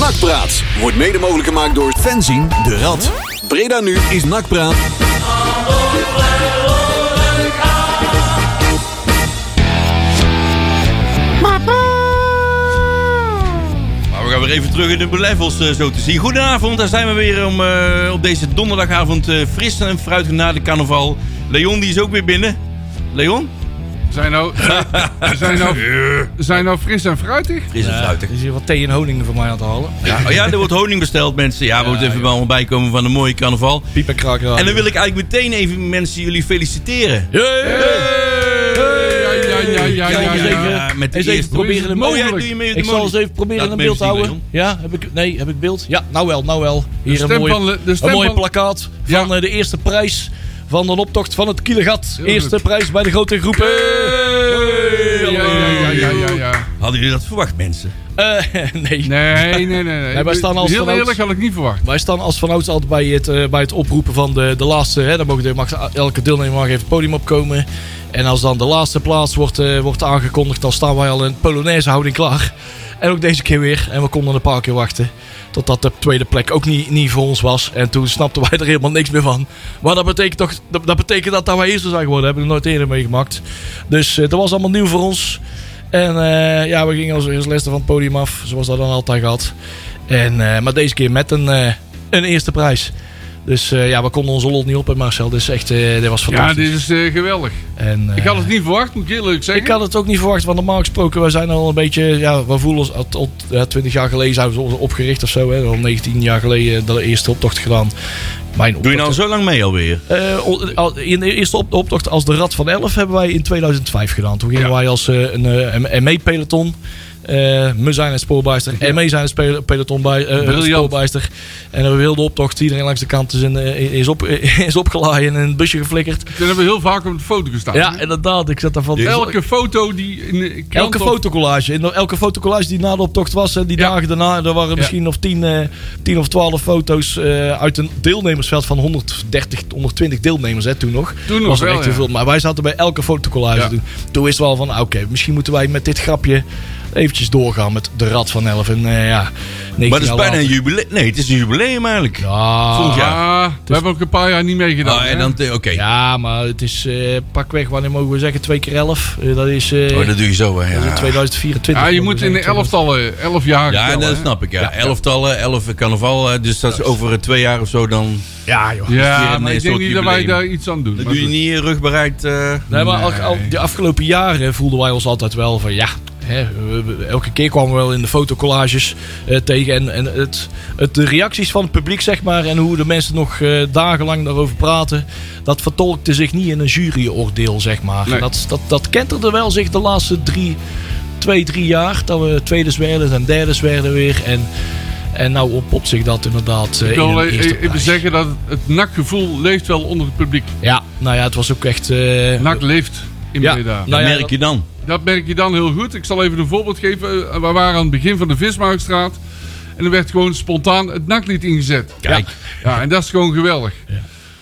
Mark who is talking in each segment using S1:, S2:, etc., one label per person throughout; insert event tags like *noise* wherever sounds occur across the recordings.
S1: Nakpraat wordt mede mogelijk gemaakt door Fenzin de Rad. Breda nu is Nakpraat.
S2: Maar we gaan weer even terug in de levels eh, zo te zien. Goedenavond, daar zijn we weer om, eh, op deze donderdagavond eh, fris en fruit na de carnaval. Leon die is ook weer binnen. Leon?
S3: Zijn nou, zijn nou, zijn nou fris en fruitig?
S2: Fris en fruitig.
S4: Er is hier wat thee en honing voor mij aan het halen.
S2: Ja, oh ja, er wordt honing besteld mensen. Ja, we moeten even wel bijkomen van een mooie carnaval.
S4: Piep en kraak
S2: En dan wil ik eigenlijk meteen even mensen jullie feliciteren.
S3: Ja, ja, ja, ja, ja, ja.
S4: Zeker.
S2: met de
S4: Eens even
S2: eerste.
S4: proberen hem.
S2: Oh, jij doe je mee met
S4: Ik
S2: de
S4: zal
S2: molen.
S4: eens even proberen
S2: Laat
S4: in
S2: me even
S4: beeld te
S2: zien,
S4: houden.
S2: Leon.
S4: Ja, heb ik, nee, heb ik beeld? Ja, nou wel, nou wel.
S3: De
S4: Hier een
S3: stem
S4: mooie,
S3: van Le- de stem
S4: een mooie
S3: van-
S4: plakkaat
S3: Ja.
S4: van eh, de eerste prijs van de optocht van het Kielegat.
S3: Heel
S4: Eerste
S3: goed.
S4: prijs bij de grote groepen.
S3: Ja, ja, ja, ja, ja, ja.
S2: Hadden jullie dat verwacht mensen?
S4: Eh, *laughs* nee.
S3: Nee, nee, nee. nee.
S4: Nee, wij staan als
S3: Heel
S4: vanouds-
S3: eerlijk had ik niet verwacht.
S4: Wij staan als vanouds altijd bij het, eh, bij het oproepen van de, de laatste. Hè. Dan mogen de, mag, elke deelnemer mag even het podium opkomen. En als dan de laatste plaats wordt, eh, wordt aangekondigd, dan staan wij al in Polonaise houding klaar. En ook deze keer weer. En we konden een paar keer wachten. Totdat de tweede plek ook niet, niet voor ons was. En toen snapten wij er helemaal niks meer van. Maar dat betekent toch dat, dat, betekent dat, dat wij eerste zijn geworden. Dat heb ik nog nooit eerder meegemaakt. Dus eh, dat was allemaal nieuw voor ons. En eh, ja, we gingen als, als laatste van het podium af. Zoals dat dan altijd gaat. En, eh, maar deze keer met een, eh, een eerste prijs. Dus eh, ja, we konden onze lot niet op, hè, Marcel. Dus echt, eh dit was
S3: Ja,
S4: fantastisch.
S3: dit is eh, geweldig.
S4: En, eh,
S3: Ik had het niet verwacht, moet ik eerlijk zeggen.
S4: ik had het ook niet verwacht, want normaal gesproken, wij zijn al een beetje, ja, we voelen ons, al, al, ja, 20 jaar geleden zijn we zo opgericht of zo, hè, al 19 jaar geleden eh, de eerste optocht gedaan. Mijn
S2: Doe je
S4: optocht-
S2: nou zo lang mee alweer?
S4: eh, o- al- in de eerste op- optocht als de Rad van 11 hebben wij in 2005 gedaan. Toen gingen
S3: Ja.
S4: wij als eh, een, eh, een ME-peloton. me Eh, zijn het spoorbijster. ME zijn het speel- peloton bij, eh,
S3: Briljant.
S4: spoorbijster. En we wilden optocht. Iedereen langs de kant is, in, eh, is, op, *laughs* is opgelaaid en in een busje geflikkerd.
S3: Toen hebben we heel vaak op de foto gestaan.
S4: Ja, inderdaad. Ik zat
S2: dus-
S4: daarvan...
S3: Elke foto die in de krant
S4: Elke
S3: of-
S4: fotocollage. En elke fotocollage die na de optocht was. En die
S3: Ja.
S4: dagen daarna. Er waren misschien nog 10, eh, 10 of 12 foto's eh, uit een deelnemersveld van 130, 120 deelnemers hè, toen nog.
S3: Toen nog
S4: was er
S3: wel,
S4: echt
S3: ja.
S4: heel veel. Maar wij zaten bij elke fotocollage
S3: Ja.
S4: toen. Toen wisten we al van, ah, oké, misschien moeten wij met dit grapje eventjes doorgaan met de Rad van 11. En eh, ja, 19
S2: Maar het is
S4: jaar
S2: bijna een
S4: later.
S2: jubileum. Nee, het is een jubileum eigenlijk.
S4: Ja.
S2: Volgend jaar.
S3: Ja, Ah, we hebben ook een paar jaar niet meegedaan.
S2: Ah, en
S3: hè?
S2: dan, te- oké.
S4: Ja, maar het is eh, pakweg, wanneer mogen we zeggen, 2 keer 11. Eh, dat is eh,
S2: Oh, dat doe je zo, hè.
S4: dat is in
S2: Ja.
S4: 2024.
S3: ja, je
S4: mogen we
S3: moet in de
S4: zeggen.
S3: elftallen, elf jaar
S2: Ja,
S3: tellen,
S2: dat nou-
S3: hè?
S2: snap ik. Ja. Elftallen, elf carnaval. eh, Dus dat is over eh, twee jaar of zo dan.
S4: Ja, joh.
S3: Ja,
S2: een,
S3: maar
S2: eh,
S3: ik denk
S2: soort
S3: niet dat wij
S2: jubileum.
S3: daar iets aan doen.
S2: Dat
S3: maar
S2: doe je
S3: goed.
S2: niet eh, rugbereid. eh.
S4: Nee, maar al, al- de afgelopen jaren voelden wij ons altijd wel van ja. Hè, we- we- elke keer kwamen we wel in de fotocollages eh, tegen. En, en het, het, de reacties van het publiek, zeg maar, en hoe de mensen nog eh, dagenlang daarover praten, dat vertolkte zich niet in een juryoordeel, zeg maar.
S3: Nee.
S4: Dat, dat, dat kenterde wel zich de laatste drie, twee, drie jaar. Dat we tweede werden en derde werden weer. En, en nou oppopt zich dat inderdaad. eh,
S3: Ik
S4: in
S3: wil
S4: een
S3: alleen
S4: eerste
S3: even
S4: prijs.
S3: zeggen dat het nakgevoel leeft wel onder het publiek.
S4: Ja, nou ja, het was ook echt. eh,
S3: Nak leeft in
S4: Ja.
S3: Breda.
S4: Nou
S2: dat
S4: ja,
S2: merk
S4: dat-
S2: je dan.
S3: Dat merk je dan heel goed. Ik zal even een voorbeeld geven. Eh, We waren aan het begin van de Vismarktstraat. En er werd gewoon spontaan het naklied ingezet.
S2: Kijk.
S3: Ja, en dat is gewoon geweldig.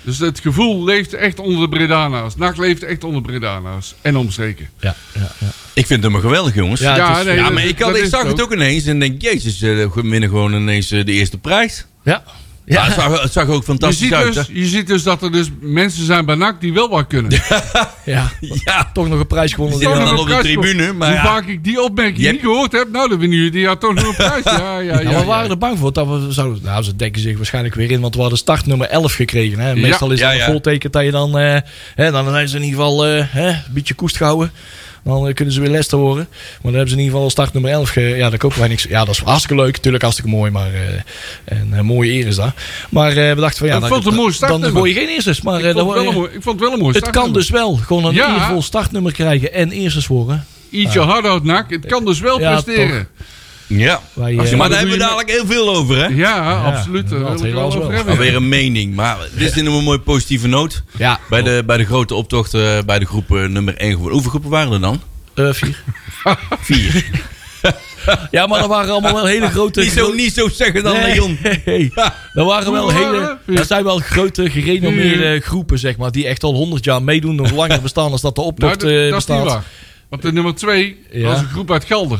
S3: Dus het gevoel leeft echt onder de Bredana's. Nak leeft echt onder Bredana's. En omstreken.
S4: ja, ja, ja.
S2: Ik vind hem geweldig, jongens.
S4: Ja,
S2: Ja,
S4: het is-
S3: nee, dat-
S2: maar ik,
S3: dat
S2: had, ik
S3: is
S2: zag het ook ineens en denk, jezus, eh, we winnen gewoon ineens eh, de eerste prijs.
S4: ja.
S2: Ja. het, zag, het zag ook
S3: Je
S2: fantastisch
S3: ziet,
S2: uit. hè.
S3: dus, je ziet dus dat er dus mensen zijn bij NAC die wel wat kunnen. Die
S4: Ja,
S2: Ja,
S4: toch nog een prijs gewonnen. eh,
S2: Die zit
S4: Ja.
S2: dan
S3: nog
S2: op
S3: een
S2: de
S3: prijs voor-
S2: tribune, maar
S3: Hoe
S2: ja.
S3: vaak ik die opmerking
S2: Je hebt-
S3: niet gewinnen gehoord heb, nou dan winnen jullie die ja toch nog een prijs. Ja, ja, ja.
S4: Ja, Nou, we waren er bang voor dat we zouden. Nou, ze denken zich waarschijnlijk weer in, want we hadden start nummer 11 gekregen. Hè. Meestal is
S2: ja,
S4: dat
S2: ja.
S4: een volteken dat je dan. eh, hè, dan zijn ze in ieder geval eh, hè, een beetje koest gehouden. Dan eh, kunnen ze weer les te horen. Maar dan hebben ze in ieder geval al start nummer 11. Ge, ja, daar kopen wij niks. Ja, dat is hartstikke leuk. Tuurlijk hartstikke mooi. Maar eh, een eh, mooie eer is dat. Maar eh, we dachten van ja,
S3: Ik vond het een mooi
S4: dan
S3: startnummer.
S4: hoor je geen eerstes. Maar, eh,
S3: Ik
S4: dan
S3: vond het wel
S4: hoor je-
S3: een mooi- ik vond het wel een mooi
S4: het kan
S3: startnummer.
S4: dus wel. Gewoon een
S3: Ja.
S4: eervol startnummer krijgen en eerstes horen.
S3: Ietsje harder hard nak. Het kan dus wel
S4: Ja,
S3: presteren.
S2: ja.
S4: Wij,
S2: Als je- maar daar
S3: dat
S4: eh,
S2: hebben
S3: doe
S2: we
S3: je
S2: dadelijk heel veel over, hè?
S3: Ja, absoluut. Daar
S4: inderdaad,
S3: wil ik wel
S4: helaas
S3: over
S4: wel.
S3: hebben.
S2: Alweer een mening, maar dit is in een mooi positieve noot.
S4: Ja,
S2: Bij de, bij de grote optocht, eh, bij de groep eh, nummer 1 geworden. Hoeveel groepen waren er dan?
S4: eh,
S3: *laughs*
S4: vier.
S2: Vier.
S4: Ja, maar dat waren allemaal wel hele grote.
S2: niet, zo, niet zo zeggen dan,
S4: Nee.
S2: Leon.
S4: *laughs* Nee. Dat waren wel
S3: Hoe
S4: hele.
S3: waren we? Hmm.
S4: Dat zijn wel grote, gerenommeerde groepen, zeg maar. Die echt al 100 jaar meedoen. Nog langer bestaan als dat de
S3: Nou,
S4: optocht
S3: dat,
S4: eh,
S3: dat is niet
S4: bestaat.
S3: waar. Want de nummer 2
S4: Ja.
S3: was een groep uit Gelder.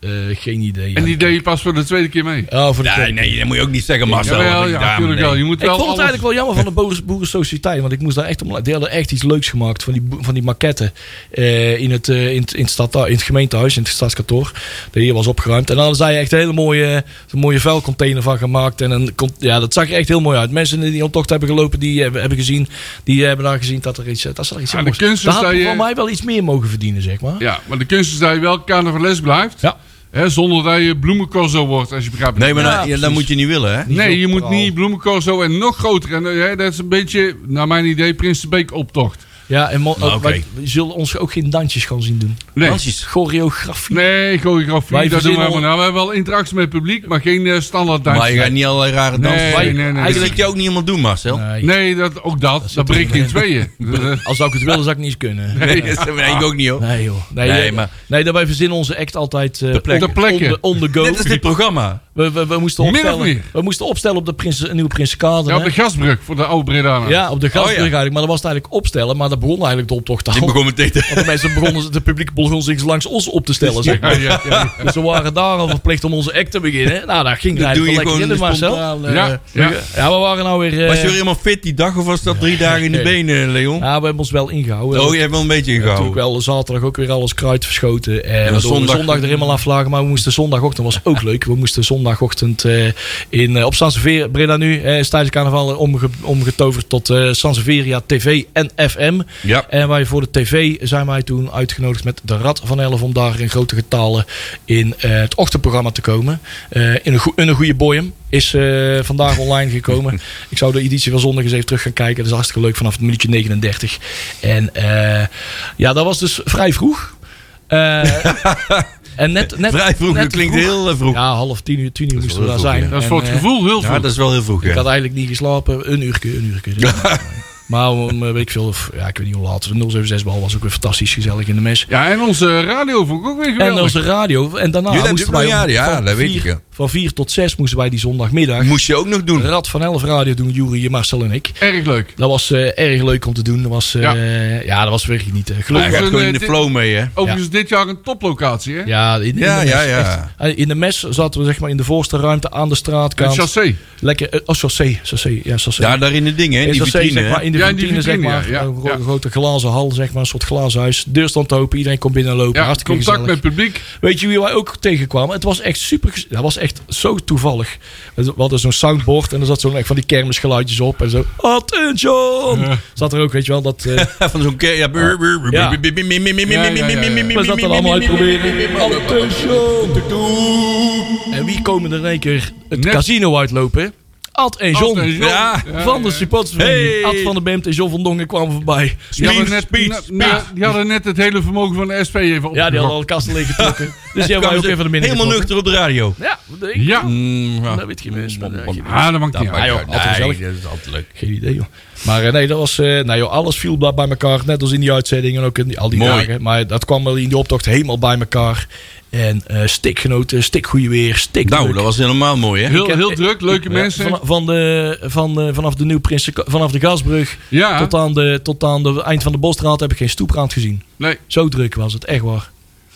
S4: Eh, geen idee.
S3: En die deed je pas voor de tweede keer mee.
S4: Oh, voor de
S2: Nee,
S4: tweede keer.
S2: nee, dat moet je ook niet zeggen, Marcel.
S3: Jawel,
S2: want ik-
S3: ja,
S2: daar-
S3: natuurlijk
S2: nee.
S3: wel. Je moet
S4: Ik
S3: wel
S4: vond het
S3: alles-
S4: eigenlijk wel jammer van de boeren- boerensociëteit. Want ik moest daar echt om. la- Die hadden echt iets leuks gemaakt van die, bo- van die maquetten. eh, in, het, eh, in, het- in, het stadta- in het gemeentehuis, in het stadskantoor. Dat hier was opgeruimd. En dan hadden zij echt een hele mooie, een mooie vuilcontainer van gemaakt. En een, con- ja, dat zag er echt heel mooi uit. Mensen die optocht hebben gelopen, die hebben, hebben gezien. Die hebben daar gezien dat er iets. eh, Dat ze er iets
S3: Ja,
S4: in
S3: de
S4: moest.
S3: kunst is
S4: Daar had
S3: dat je-
S4: voor mij wel iets meer mogen verdienen, zeg maar.
S3: Ja, maar de kunst is dat je wel carnavales blijft.
S4: Ja.
S3: Hè, zonder dat je bloemencorso wordt, als je begrijpt.
S2: Nee, maar nou-
S4: Ja,
S2: dan, ja, dan
S4: precies.
S2: moet je niet willen, hè?
S4: Niet
S3: nee,
S4: zo'n
S3: je moet
S4: verhaal.
S3: niet bloemencorso en nog groter. En, eh, hè, dat is een beetje, naar mijn idee, Prinsenbeek optocht.
S4: Ja, en mo-
S3: Ah,
S2: Nou,
S4: ook-
S2: oké.
S4: wij zullen ons ook geen dansjes gaan zien doen.
S3: Nee.
S2: Dansjes.
S4: Choreografie.
S3: Nee, choreografie,
S4: Wij
S3: dat doen we
S4: verzinnen
S3: helemaal nou, We hebben wel interactie met het publiek, maar geen eh, standaard dansje.
S2: Maar je gaat niet allerlei rare
S3: Nee,
S2: dansen.
S3: nee,
S2: maken.
S3: nee, nee.
S2: Dat zie ik je ook niet helemaal doen, Marcel.
S4: Nee.
S3: Nee, dat, ook dat. Dat,
S4: zit er
S3: breekt
S4: niet
S3: in
S4: in.
S3: tweeën. Dus, eh,
S4: Als zou ik het willen, zou ik niet eens kunnen.
S2: *laughs* Nee, dat nee, ik ook niet, hoor.
S4: Nee joh. Nee,
S2: Nee,
S4: eh,
S2: maar-
S4: nee dat wij verzinnen onze act altijd eh,
S2: Ter plekke.
S4: on-
S3: Ter plekke.
S4: On, the, on the go.
S2: Dit is dit programma.
S4: we, we, we moesten
S3: Min of
S4: opstellen,
S3: meer.
S4: we moesten opstellen op de prins, nieuwe Prinsenkader.
S3: ja,
S4: hè?
S3: op de gasbrug voor de oude Bredaner.
S4: ja, op de gastbrug
S2: Oh, ja.
S4: eigenlijk. Maar dat was het eigenlijk opstellen. Maar dat begon eigenlijk de optocht
S2: Ik
S4: al.
S2: begon meteen te...
S4: *laughs* Want de mensen begonnen, de publiek begon zich langs ons op te stellen. Zeg
S3: Ja,
S4: maar.
S3: ja, ja.
S4: Dus we waren daar al verplicht om onze act te beginnen. Nou, daar ging het
S2: Dat doe je
S4: eigenlijk wel
S2: gewoon
S4: lekker in, Marcel.
S2: spontaan,
S3: eh, Ja, ja.
S4: ja, we waren nou weer... eh,
S2: Was je weer helemaal fit die dag of was dat drie dagen in de
S4: Nee.
S2: benen, Leon?
S4: ja, we hebben ons wel ingehouden.
S2: Oh, je hebt wel een beetje
S4: Natuurlijk
S2: ingehouden.
S4: wel zaterdag ook weer alles kruid verschoten. En waardoor we zondag...
S2: zondag-
S4: er helemaal aflagen. Maar we moesten zondagochtend, was ook leuk. We moesten zondagochtend eh, in, eh, op Sanseveer, Breda nu, eh, is tijdens carnaval omge- omgetoverd tot eh Sanseveria TV en FM.
S2: Ja.
S4: En wij voor de tv zijn wij toen uitgenodigd met de Rad van Elf om daar in grote getalen in eh, het ochtendprogramma te komen. Eh, in, een goe- in een goede boyum. Is eh, vandaag online
S2: *laughs*
S4: gekomen. Ik zou de editie van zondag eens even terug gaan kijken. Dat is hartstikke leuk vanaf het minuutje 39. En eh, ja, dat was dus vrij vroeg.
S2: *laughs*
S4: Eh, en net, net,
S2: Vrij vroeg,
S4: net
S2: dat klinkt heel eh, vroeg.
S4: Ja, half tien uur, tien uur moesten we
S2: wel
S4: daar
S2: vroeg,
S4: zijn.
S2: ja.
S3: Dat is
S4: En,
S3: voor het
S4: eh,
S3: gevoel heel
S2: Ja,
S3: veel.
S2: dat is wel heel vroeg,
S4: ik
S2: ja.
S4: had eigenlijk niet geslapen. Een uurtje, een uurtje.
S2: *laughs*
S4: Dus Maar om, eh, weet ik veel, of, ja, ik weet niet hoe laat. 076 bal was ook weer fantastisch gezellig in de mes.
S3: Ja, en onze radio vond ik ook weer
S4: En
S3: geweldig.
S4: onze radio. En daarna
S2: Jullie hebben
S4: moesten
S2: ook
S4: wij
S2: nog
S4: om-
S2: jaren, ja,
S4: van
S2: dat weet
S4: vier-
S2: ik, ja.
S4: Van 4 tot 6 moesten wij die zondagmiddag
S2: Moest je ook nog doen.
S4: Rad van 11 radio doen. Jury, Marcel en ik.
S3: Erg leuk.
S4: Dat was eh, erg leuk om te doen. Dat was, eh, ja. dat was weer genieten.
S2: Hij
S4: Gelukkig.
S2: gaat
S3: Over
S2: gewoon
S3: een,
S2: in de
S3: eh,
S2: flow mee, hè.
S3: Overigens dit jaar een toplocatie, hè?
S4: Ja, in, in
S2: Ja,
S4: de mes,
S2: ja, ja.
S4: echt. Eh, In de mes zaten we zeg maar in de voorste ruimte aan de
S3: Een
S4: straatkant.
S3: chassé.
S4: Lekker, eh, oh, chaussee, chaussee, ja, chaussee.
S2: Ja, daar in het ding, hè. in
S4: Is
S2: Die
S4: dat steeds,
S2: vitrine,
S4: zeg maar,
S2: hè.
S4: in de
S3: Ja, in die
S4: vitrine, zeg
S3: vitrine,
S4: maar.
S3: ja,
S4: Een gro-
S3: ja.
S4: grote glazen hal, zeg maar. Een soort glazen huis. Deur stond open. Iedereen kon binnenlopen.
S3: Ja,
S4: Hartstikke
S3: contact met
S4: gezellig.
S3: het publiek.
S4: Weet je wie wij ook tegenkwamen? Het was echt super... gez- Dat was echt zo toevallig. We hadden zo'n soundboard en er zat zo'n echt van die kermisgeluidjes op. En zo... Attention! Zat er ook, weet je wel,
S3: *laughs*
S4: dat... eh,
S2: Van zo'n keer. Ja. brr, brr, brr,
S4: Ja.
S2: brr, brr, brr, brr, brr, brr,
S3: Ja, ja, ja, ja.
S2: brr, brr, brr,
S4: we zaten er allemaal uitproberen. Attention! En wie komen er in één keer het
S3: Net.
S4: casino uitlopen? Ad en
S3: Ad en
S4: John.
S3: John.
S2: Ja.
S4: Van de supporters van
S2: Hey.
S4: Ad van de Bemt en John van Dongen kwamen voorbij.
S3: Die hadden,
S2: Speed,
S3: net,
S2: speed,
S3: na- na- die hadden net het hele vermogen van de SP even op.
S4: Ja, die hadden al kasten
S2: *laughs*
S4: leeggetrokken. dus die hebben wij ook even de binnen
S2: Helemaal nuchter
S4: getrokken.
S2: op de radio.
S4: Ja, wat denk je?
S3: Ja,
S2: Mm, ja.
S4: Dat weet je mis. maar, eh, geen-
S3: ah, dat maakt
S2: Dat
S3: niet uit.
S2: maakt
S4: joh,
S2: uit.
S4: altijd
S2: Nee,
S4: gezellig.
S2: Dat is altijd leuk.
S4: Geen idee, joh. Maar eh, nee, dat was... eh, nou joh, alles viel daar bij elkaar. Net als in die uitzending en ook in die, al die
S2: Mooi.
S4: dagen. Maar dat kwam wel in die optocht helemaal bij elkaar. En eh stikgenoten, stikgoeie weer, stik
S2: Nou, dat was helemaal mooi, hè.
S3: Heel, heel druk, leuke mensen.
S4: Van, van de, van, eh, vanaf de Nieuw Prinsen, vanaf de Gasbrug
S3: Ja,
S4: tot aan de, tot aan de eind van de Bosstraat heb ik geen stoeprand gezien.
S3: nee,
S4: Zo druk was het, echt waar.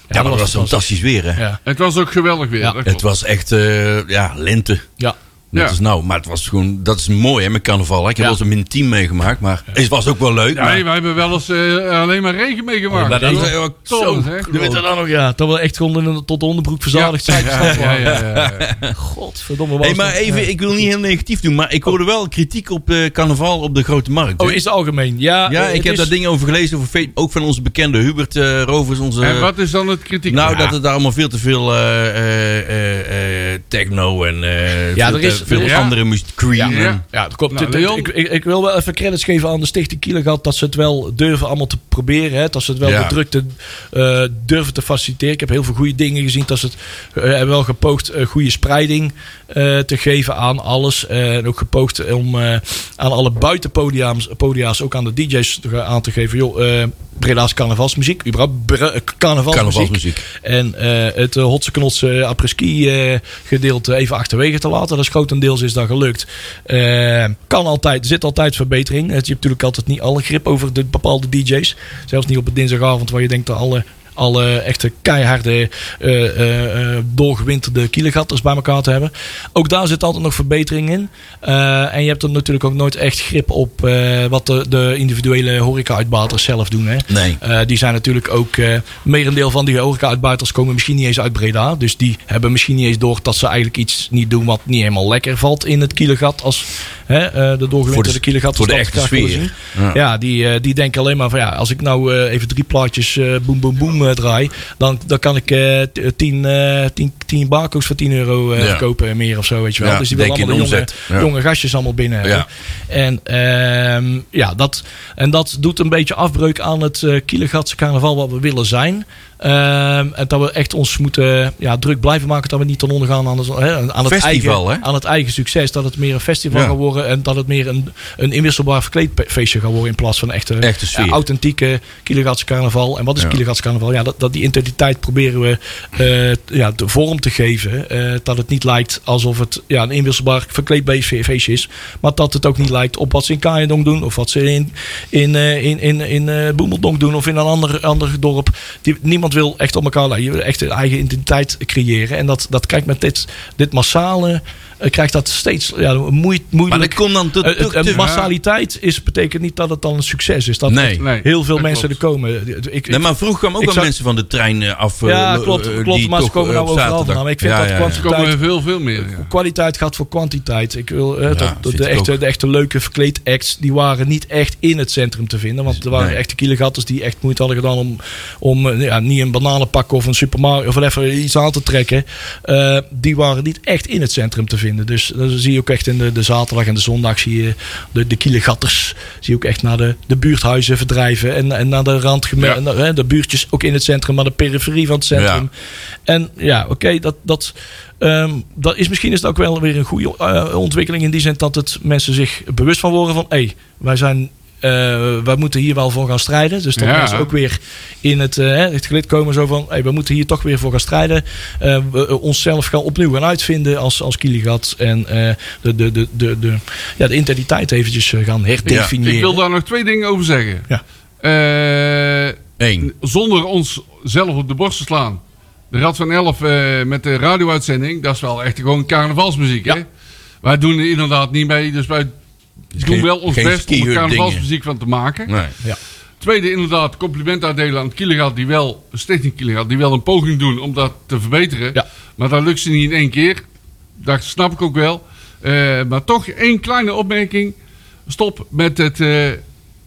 S2: Ja, maar dat was fantastisch weer, hè.
S4: Ja,
S3: het was ook geweldig weer.
S4: Ja.
S3: dat klopt.
S2: Het was echt, eh, ja, lente.
S4: ja.
S2: Net
S3: Ja.
S2: als nou, maar het was gewoon, dat is mooi hè, met carnaval. hè. Ik heb
S4: Ja.
S2: wel eens een min 10 meegemaakt, maar het was ook wel leuk. maar-
S3: Nee, wij hebben wel eens eh, alleen maar regen meegemaakt.
S4: Oh,
S2: maar dat
S3: Joh.
S2: is ook
S3: Tollend,
S2: zo
S3: hè?
S4: Je weet dat dan nog, ja. Dat we echt gewoon in- tot de onderbroek verzadigd zijn.
S3: Ja, ja, ja, ja, ja.
S4: Godverdomme. was
S2: Hey, maar
S4: dat-
S2: even, ik wil niet heel negatief doen, maar ik hoorde wel kritiek op eh, carnaval op de Grote Markt. hè.
S4: Oh, is het algemeen? Ja,
S2: ja,
S4: eh,
S2: ik
S4: het
S2: heb
S4: is-
S2: daar dingen over gelezen, over fe- ook van onze bekende Hubert eh, Rovers. Onze,
S3: En wat is dan het Ah, kritiek?
S2: nou,
S3: Ja.
S2: dat het daar allemaal veel te veel eh, eh, eh, eh, techno en eh,
S4: Ja,
S2: veel,
S4: er is-
S2: te veel
S4: er is-
S2: andere muziek, Cream.
S3: Ja.
S2: en-
S4: Ja, dat klopt.
S3: Nou,
S4: Dit- dit-
S3: Leon?
S4: ik, ik, ik wil wel even credits geven aan de Stichting Kielegat dat ze het wel durven allemaal te proberen. Hè, dat ze het wel
S2: Ja.
S4: de drukte eh, durven te faciliteren. Ik heb heel veel goede dingen gezien. Dat ze het eh, hebben wel gepoogd eh, goede spreiding eh, te geven aan alles. Eh, en ook gepoogd om eh, aan alle buitenpodia's, podia's, ook aan de DJ's te- aan te geven. Joh, eh Breda's carnavalsmuziek, überhaupt bre- eh, carnavalsmuziek.
S2: Carnavalsmuziek.
S4: En eh, het eh, hotse knotse eh, apres-ski eh, gedeelte even achterwege te laten. Dat is grotendeels is dat gelukt. Eh, kan altijd, er zit altijd verbetering. Het- Je hebt natuurlijk altijd niet alle grip over de bepaalde DJ's. Zelfs niet op een dinsdagavond waar je denkt dat alle alle echte keiharde, eh, eh, doorgewinterde kielengatters bij elkaar te hebben. Ook daar zit altijd nog verbetering in. Eh, en je hebt er natuurlijk ook nooit echt grip op eh, wat de, de individuele horeca-uitbaters zelf doen. Hè?
S2: Nee.
S4: Eh, die zijn natuurlijk ook, eh merendeel van die horeca-uitbuiters komen misschien niet eens uit Breda. Dus die hebben misschien niet eens door dat ze eigenlijk iets niet doen wat niet helemaal lekker valt in het kielengat. Als hè, eh de
S2: Voor de-
S4: doorgewinterde kielengat.
S2: voor de
S4: als dat
S2: echte
S4: graag willen
S2: sfeer.
S4: zien. Ja, die, eh, die denken alleen maar van ja, als ik nou eh, even drie plaatjes eh boem boem boem eh, draai. Dan, dan kan ik eh, t- tien, eh tien, tien barcodes voor 10 euro eh,
S2: Ja.
S4: kopen meer of zo. Weet je wel.
S2: Ja,
S4: dus die willen
S2: denk in
S4: allemaal de jonge,
S2: omzet. Ja.
S4: jonge jonge gastjes allemaal binnen hebben. En, ehm, ja, dat, en dat doet een beetje afbreuk aan het eh Kielegatse carnaval wat we willen zijn. Ehm, en dat we echt ons moeten ja, druk blijven maken dat we niet ten onder gaan aan, het- hè, aan, het,
S2: Festival,
S4: eigen,
S2: hè?
S4: aan het eigen succes. Dat het meer een festival
S2: Ja.
S4: gaat worden en dat het meer een, een inwisselbaar verkleedfeestje gaat worden in plaats van een echte,
S2: Echte sfeer.
S4: ja, authentieke Kielegatse carnaval. En wat is
S2: Ja.
S4: Kielegatse carnaval? Ja, dat, dat die identiteit proberen we eh, t- ja, de vorm te geven. eh, dat het niet lijkt alsof het ja, een inwisselbaar verkleedbeestfeestje is. Maar dat het ook niet lijkt op wat ze in Kaaiendonk doen. Of wat ze in, in, eh, in, in, in eh, Boemeldonk doen. Of in een ander, ander dorp. Die, niemand wil echt op elkaar lijken. Je wil echt een eigen identiteit creëren. En dat, dat kijkt met dit, dit massale... eh, krijgt dat steeds ja, moe-
S5: Maar
S4: moeilijk...
S5: dat komt dan te,
S4: Eh,
S5: te,
S4: eh,
S5: te-
S4: massaliteit is, betekent niet dat het dan een succes is. Dat
S2: Nee.
S4: echt
S3: Nee,
S4: heel veel
S3: dat
S4: mensen
S3: klopt.
S4: er komen. Ik- Ik,
S5: Nee, maar vroeger kwamen ook
S4: Ik
S5: al
S4: zou-
S5: mensen van de trein eh, af. eh,
S4: Ja,
S5: lo-
S4: klopt,
S5: eh,
S4: klopt,
S5: die
S4: maar ze
S5: toch,
S4: komen
S5: eh,
S4: nou
S5: op
S4: overal
S5: zaterdag-
S4: vandaan. Maar ik vind dat
S3: Er
S4: kwantiteit-
S3: komen er veel, veel meer. Ja.
S4: kwaliteit gaat voor kwantiteit. Ik wil, eh, dat- dat,
S2: vind
S4: de,
S2: ik
S4: echte,
S2: ook.
S4: de echte leuke verkleedacts, die waren niet echt in het centrum te vinden. Want er waren
S2: Nee.
S4: echte kielegatters die echt moeite hadden gedaan om, om eh, ja, niet een bananenpak of een supermarkt of even iets aan te trekken. Eh, die waren niet echt in het centrum te vinden. Dus dan zie je ook echt in de, de zaterdag en de zondag zie je de, de kielegatters. Zie je ook echt naar de, de buurthuizen verdrijven en, en naar de randgeme-
S3: Ja.
S4: en, eh, de buurtjes ook in het centrum, maar de periferie van het centrum. En ja, oké, dat, dat, ehm, dat is misschien is het ook wel weer een goede eh, ontwikkeling in die zin dat het mensen zich bewust van worden van hé, hey, wij zijn. eh, wij moeten hier wel voor gaan strijden. Dus dat
S3: Ja.
S4: mensen ook weer in het, eh, het gelid komen. Zo van, hey, we moeten hier toch weer voor gaan strijden. Eh, we, eh, onszelf gaan opnieuw gaan uitvinden als, als Kieligat. En eh, de, de, de, de, de, ja, de identiteit eventjes eh, gaan herdefiniëren.
S3: Ik wil daar nog twee dingen over zeggen.
S4: Ja.
S3: Eh,
S2: Eén.
S3: zonder ons zelf op de borst te slaan. De Rad van Elf eh, met de radio-uitzending, dat is wel echt gewoon carnavalsmuziek. Hè?
S4: Ja.
S3: Wij doen er inderdaad niet mee, dus wij doen
S2: geen-
S3: wel ons
S2: geen
S3: best om er
S2: skihut
S3: carnavalsmuziek van te maken.
S2: Nee.
S3: Tweede, inderdaad, compliment uitdelen aan het Kielegaat, die wel, Stichting Kielegaat, die wel een poging doen om dat te verbeteren.
S4: Ja.
S3: Maar dat lukt ze niet in één keer. Dat snap ik ook wel. Eh, maar toch één kleine opmerking. Stop met het, eh,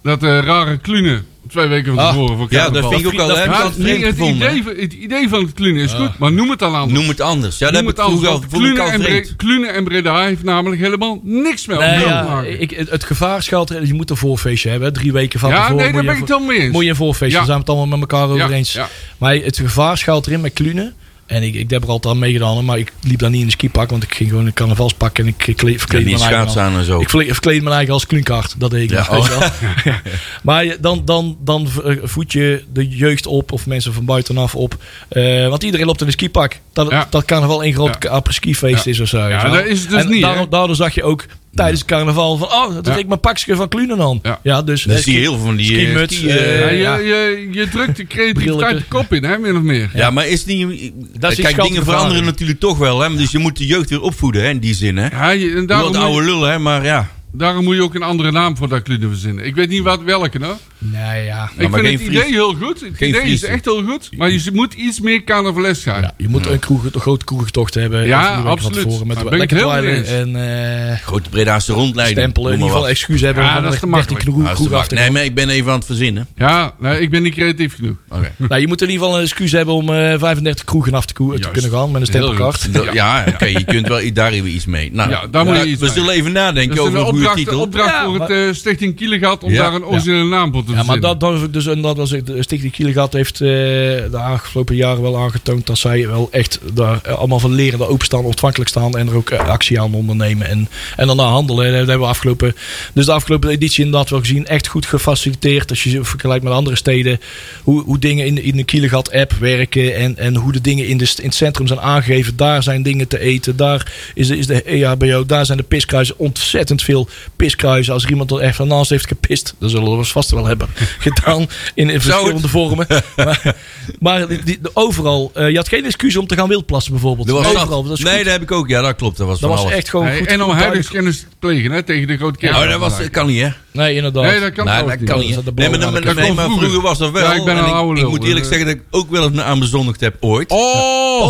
S3: dat eh, rare klunen twee weken van
S4: Ah,
S3: tevoren voor
S5: Ja,
S3: carnaval.
S5: dat vind ik ook al.
S4: Dat
S5: Heb ik
S3: Ja,
S5: altijd
S3: nee,
S5: vreemd
S3: het,
S5: gevonden. Ah.
S3: idee, van- het idee van het klunen is goed, maar noem het dan aan.
S5: Noem het anders. Ja, dat heb
S3: het
S5: ik vroeger al.
S3: want
S5: vond ik
S3: Klunen
S5: al
S3: en,
S5: vreemd.
S3: Bre- Klunen en Breda heeft namelijk helemaal niks meer
S4: Nee,
S3: op te
S4: ja,
S3: maken.
S4: ik, het- het gevaar schuilt erin. Je moet een voorfeestje hebben. hè. Drie weken van
S3: ja,
S4: tevoren
S3: nee,
S4: moet
S3: daar
S4: je
S3: ben ik
S4: een
S3: het helemaal mee eens.
S4: Moet je een voorfeestje,
S3: Ja.
S4: daar zijn we het allemaal met elkaar
S3: Ja,
S4: over eens.
S3: ja.
S4: Maar het gevaar schuilt erin met klunen. En ik, ik heb er altijd aan meegedaan, hoor, maar ik liep daar niet in een skipak, want ik ging gewoon in een carnavalspak en ik kle- verkleedde
S2: niet
S4: mijn eigen
S2: schaats
S4: dan.
S2: aan en zo.
S4: Ik verkle- verkleedde mijn eigen als klunkaart, dat deed ik
S2: Ja, oh.
S4: nog, weet je wel. *laughs* Maar je- dan, dan, dan v- eh, voed je de jeugd op of mensen van buitenaf op. Eh, want iedereen loopt in een skipak. Dat,
S3: Ja.
S4: dat carnaval één groot
S3: Ja.
S4: apres-ski-feest
S3: Ja.
S4: is of zo. weet je
S3: Ja,
S4: wel.
S3: dat is het dus
S4: en
S3: niet, hè?
S4: Daarom, daardoor zag je ook tijdens het carnaval van, oh, dat
S3: Ja.
S4: is ik mijn pakje van Klunen dan.
S3: Ja.
S4: dus,
S5: Dan
S4: eh,
S5: zie je heel veel van die... eh,
S4: skimuts,
S5: ski, eh,
S4: eh,
S3: Ja,
S4: ja.
S3: Je, je, je drukt de creativiteit
S4: Brilletje.
S3: de kop in, hè, min of meer.
S5: Ja, maar is niet.
S4: is
S5: kijk,
S4: schat
S5: dingen
S4: te
S5: veranderen
S4: veranderen.
S5: natuurlijk toch wel, hè? Dus je moet de jeugd weer opvoeden, hè? In die zin, hè?
S3: Ja, je- en
S5: Wel
S3: daarom,
S5: de
S3: moet
S5: oude
S3: je,
S5: lul, hè? Maar ja.
S3: daarom moet je ook een andere naam voor dat klunen verzinnen. Ik weet niet wat, welke, hoor.
S4: Nee, ja.
S5: maar
S3: Ik vind
S5: geen
S3: het
S5: Fries.
S3: idee heel goed. Het
S5: Geen
S3: idee
S5: Friese.
S3: is echt heel goed. Maar je moet iets meer carnavalesk gaan.
S4: Ja, je moet een, kroeg, een grote kroegentocht hebben.
S3: Ja,
S4: even drie weken van
S3: absoluut.
S4: tevoren met
S3: Daar ben ik
S4: lekker
S3: heel mee
S4: dweilen
S3: eens.
S4: en eh,
S2: Goed, Breda's rondleiding.
S4: stempelen.
S2: Noem
S4: In ieder
S2: maar
S4: geval
S2: wat.
S4: excuus hebben.
S3: Ja,
S4: om
S3: dat is
S4: echt
S3: te makkelijk.
S4: 13 kroeg,
S2: Ah,
S4: kroeg af
S2: dat is
S4: te
S2: Nee,
S4: gaan.
S2: maar ik ben even aan het verzinnen.
S3: Ja, nee, ik ben niet creatief genoeg.
S2: Oké.
S4: nou, je moet in ieder geval een excuus hebben om eh, 35 kroegen af te, koe- te
S3: Juist.
S4: kunnen gaan met een
S3: Heel
S4: stempelkaart.
S2: Dat- Ja, oké, je kunt wel i- daar even iets mee. Nou,
S3: Ja, daar moet je iets
S5: we
S3: mee. Dus
S5: zullen even nadenken
S3: Dat is
S5: over een
S3: een
S5: goede
S3: opdracht,
S5: titel.
S3: opdracht
S4: Ja,
S3: voor
S4: maar-
S3: het eh, Stichting Kielegat om
S5: Ja.
S3: daar een originele naam voor te
S4: Ja, maar
S3: verzinnen.
S4: dat durf ik dus. En dat was ik. De Stichting Kielegat heeft eh, de afgelopen jaren wel aangetoond dat zij wel echt daar eh, allemaal van leren, daar openstaan, ontvankelijk staan en er ook eh, actie aan ondernemen. En, en daarna handelen. Eh, Dat hebben we afgelopen, dus de afgelopen editie inderdaad wel gezien. Echt goed gefaciliteerd. Als je ze vergelijkt met andere steden, hoe, hoe dingen in, de- in de Kielegat app werken en, en hoe de dingen in, de, st- in het centrum zijn aangegeven. Daar zijn dingen te eten, daar is de, is de E EHBO, daar zijn de piskruizen. Ontzettend veel piskruizen. Als er iemand er echt van naast heeft gepist, dan zullen we vast wel hebben. *laughs* blijkbaar gedaan in, in verschillende vormen. Maar, maar die- die- overal, eh, je had geen excuus om te gaan wildplassen bijvoorbeeld.
S2: Er was dat.
S4: overal, dat is
S2: nee,
S4: goed.
S2: dat heb ik ook. Ja, dat klopt. Dat was
S4: dat
S2: van
S4: was
S2: alles.
S4: echt gewoon
S3: Nee,
S4: goed.
S3: en om
S4: goed
S3: huidingskennis te plegen hè, tegen de grote kerel.
S2: Oh, dat, was, dat kan niet, hè?
S4: Nee, inderdaad.
S3: Nee, dat kan
S2: nee,
S3: trouwens
S2: dat
S3: niet.
S2: kan
S4: Dat
S2: niet.
S4: is dat de
S2: Nee, maar,
S4: blauwe
S2: maar-
S4: aan de
S2: nee,
S3: kant.
S2: maar
S3: Vroeger.
S2: vroeger was dat wel.
S3: Ja, ik ben
S2: en
S3: een oude lul,
S2: moet eerlijk
S3: eh.
S2: zeggen dat ik ook wel eens aan bezondigd heb ooit.
S3: Oh,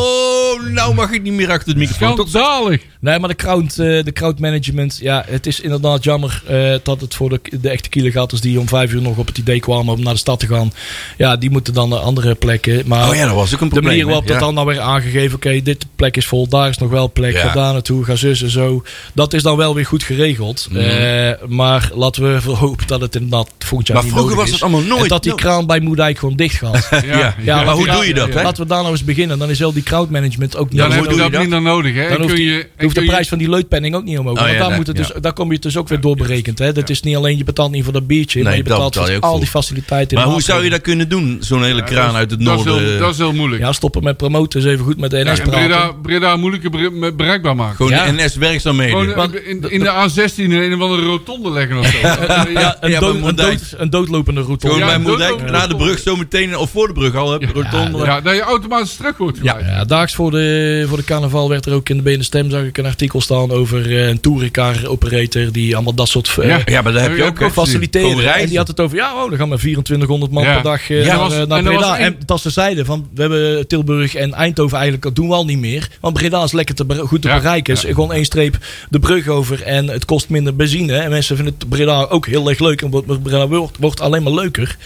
S2: Oh, nou mag ik niet meer achter het microfoon. Tot
S3: schandalig.
S4: Nee, maar de crowd, eh, de crowd management. Ja, het is inderdaad jammer eh, dat het voor de, de echte kielegaters die om vijf uur nog op het idee kwamen om naar de stad te gaan. Ja, die moeten dan naar andere plekken. Maar
S2: Oh ja, dat was ook een
S4: de
S2: probleem.
S4: manier waarop
S2: hè?
S4: dat
S2: Ja.
S4: dan dan weer aangegeven. Oké, dit plek is vol, daar is nog wel plek.
S2: Ja.
S4: Ga daar naartoe, ga zus en zo. Dat is dan wel weer goed geregeld.
S2: Mhm.
S4: Eh, maar laten we voor hopen dat het inderdaad volgend jaar
S2: Maar
S4: niet
S2: vroeger was
S4: nodig
S2: het
S4: is.
S2: allemaal nooit.
S4: En dat die
S2: no-
S4: kraan bij Moerdijk gewoon dicht
S2: *laughs*
S4: gaat.
S3: Ja,
S4: Ja,
S2: maar
S4: laten
S2: hoe
S4: we
S2: doe
S4: daar-
S2: je dat, hè?
S4: Laten we daar nou eens beginnen. Dan is heel die crowd management ook niet
S3: Dan
S4: meer
S3: heb
S4: nodig.
S3: je dat
S2: dat?
S3: minder nodig. Hè.
S4: Dan
S3: En
S4: hoeft,
S3: kun
S4: die-
S3: je, en
S4: hoeft de
S3: kun je-
S4: prijs van die leutpenning ook niet omhoog.
S2: Oh
S4: want
S2: ja,
S4: daar,
S2: nee,
S4: moet het dus,
S2: ja.
S4: daar kom je het dus ook weer doorberekend. Hè? Dat is niet alleen je betaalt niet voor dat biertje,
S2: Nee,
S4: maar je
S2: dat
S4: betaalt
S2: betaal je
S4: voor
S2: ook
S4: al die
S2: voor.
S4: faciliteiten.
S2: Maar
S4: en
S2: hoe zou je
S4: maatregelen.
S2: dat kunnen doen? Zo'n hele kraan uit het
S3: dat, is heel,
S2: noorden.
S3: dat is heel moeilijk.
S4: Ja, stoppen met promoten eens even goed met de NS
S3: en
S4: praten.
S3: Breda, Breda moeilijker bere- bereikbaar maken.
S2: Gewoon
S4: Ja.
S2: de NS werkzaamheden.
S3: Gewoon eh,
S4: Want-
S3: in, in de A16 in een of andere rotonde leggen
S4: *laughs*
S3: of zo.
S4: Ja, een,
S2: Ja, maar
S4: dood- een,
S2: Moerdijk-
S4: dood- een doodlopende route.
S2: Gewoon
S4: hoor.
S3: Ja,
S2: bij
S3: dat
S2: Moerdijk,
S3: ook nog.
S2: na de brug, zo meteen, of voor de brug al, hè, rotonde.
S3: Ja, dat je automatisch terug wordt
S4: Ja,
S3: geleid.
S4: ja, daags voor de, voor de carnaval werd er ook in de Benen Stem zag ik een artikel staan over eh, een touringcar operator die allemaal dat soort eh,
S3: Ja,
S2: Ja, maar daar heb
S3: Ja,
S2: je
S3: ja,
S2: ook
S3: klopt.
S2: Gewoon
S4: faciliteren.
S2: reizen.
S4: En die had het over, ja, oh, dan gaan maar 2400 man
S3: Ja.
S4: per dag eh,
S3: Ja,
S4: naar,
S3: was-
S4: eh,
S3: en
S4: naar
S3: er was
S4: Breda.
S3: één-
S4: En dat ze zeiden van, we hebben Tilburg en Eindhoven eigenlijk, dat doen we al niet meer. Want Breda is lekker te, bere- goed te
S3: Ja.
S4: bereiken. Is gewoon één streep de brug over en het kost minder benzine. En mensen vinden het Breda ook heel erg leuk. En wordt- Breda wordt, wordt alleen maar leuker.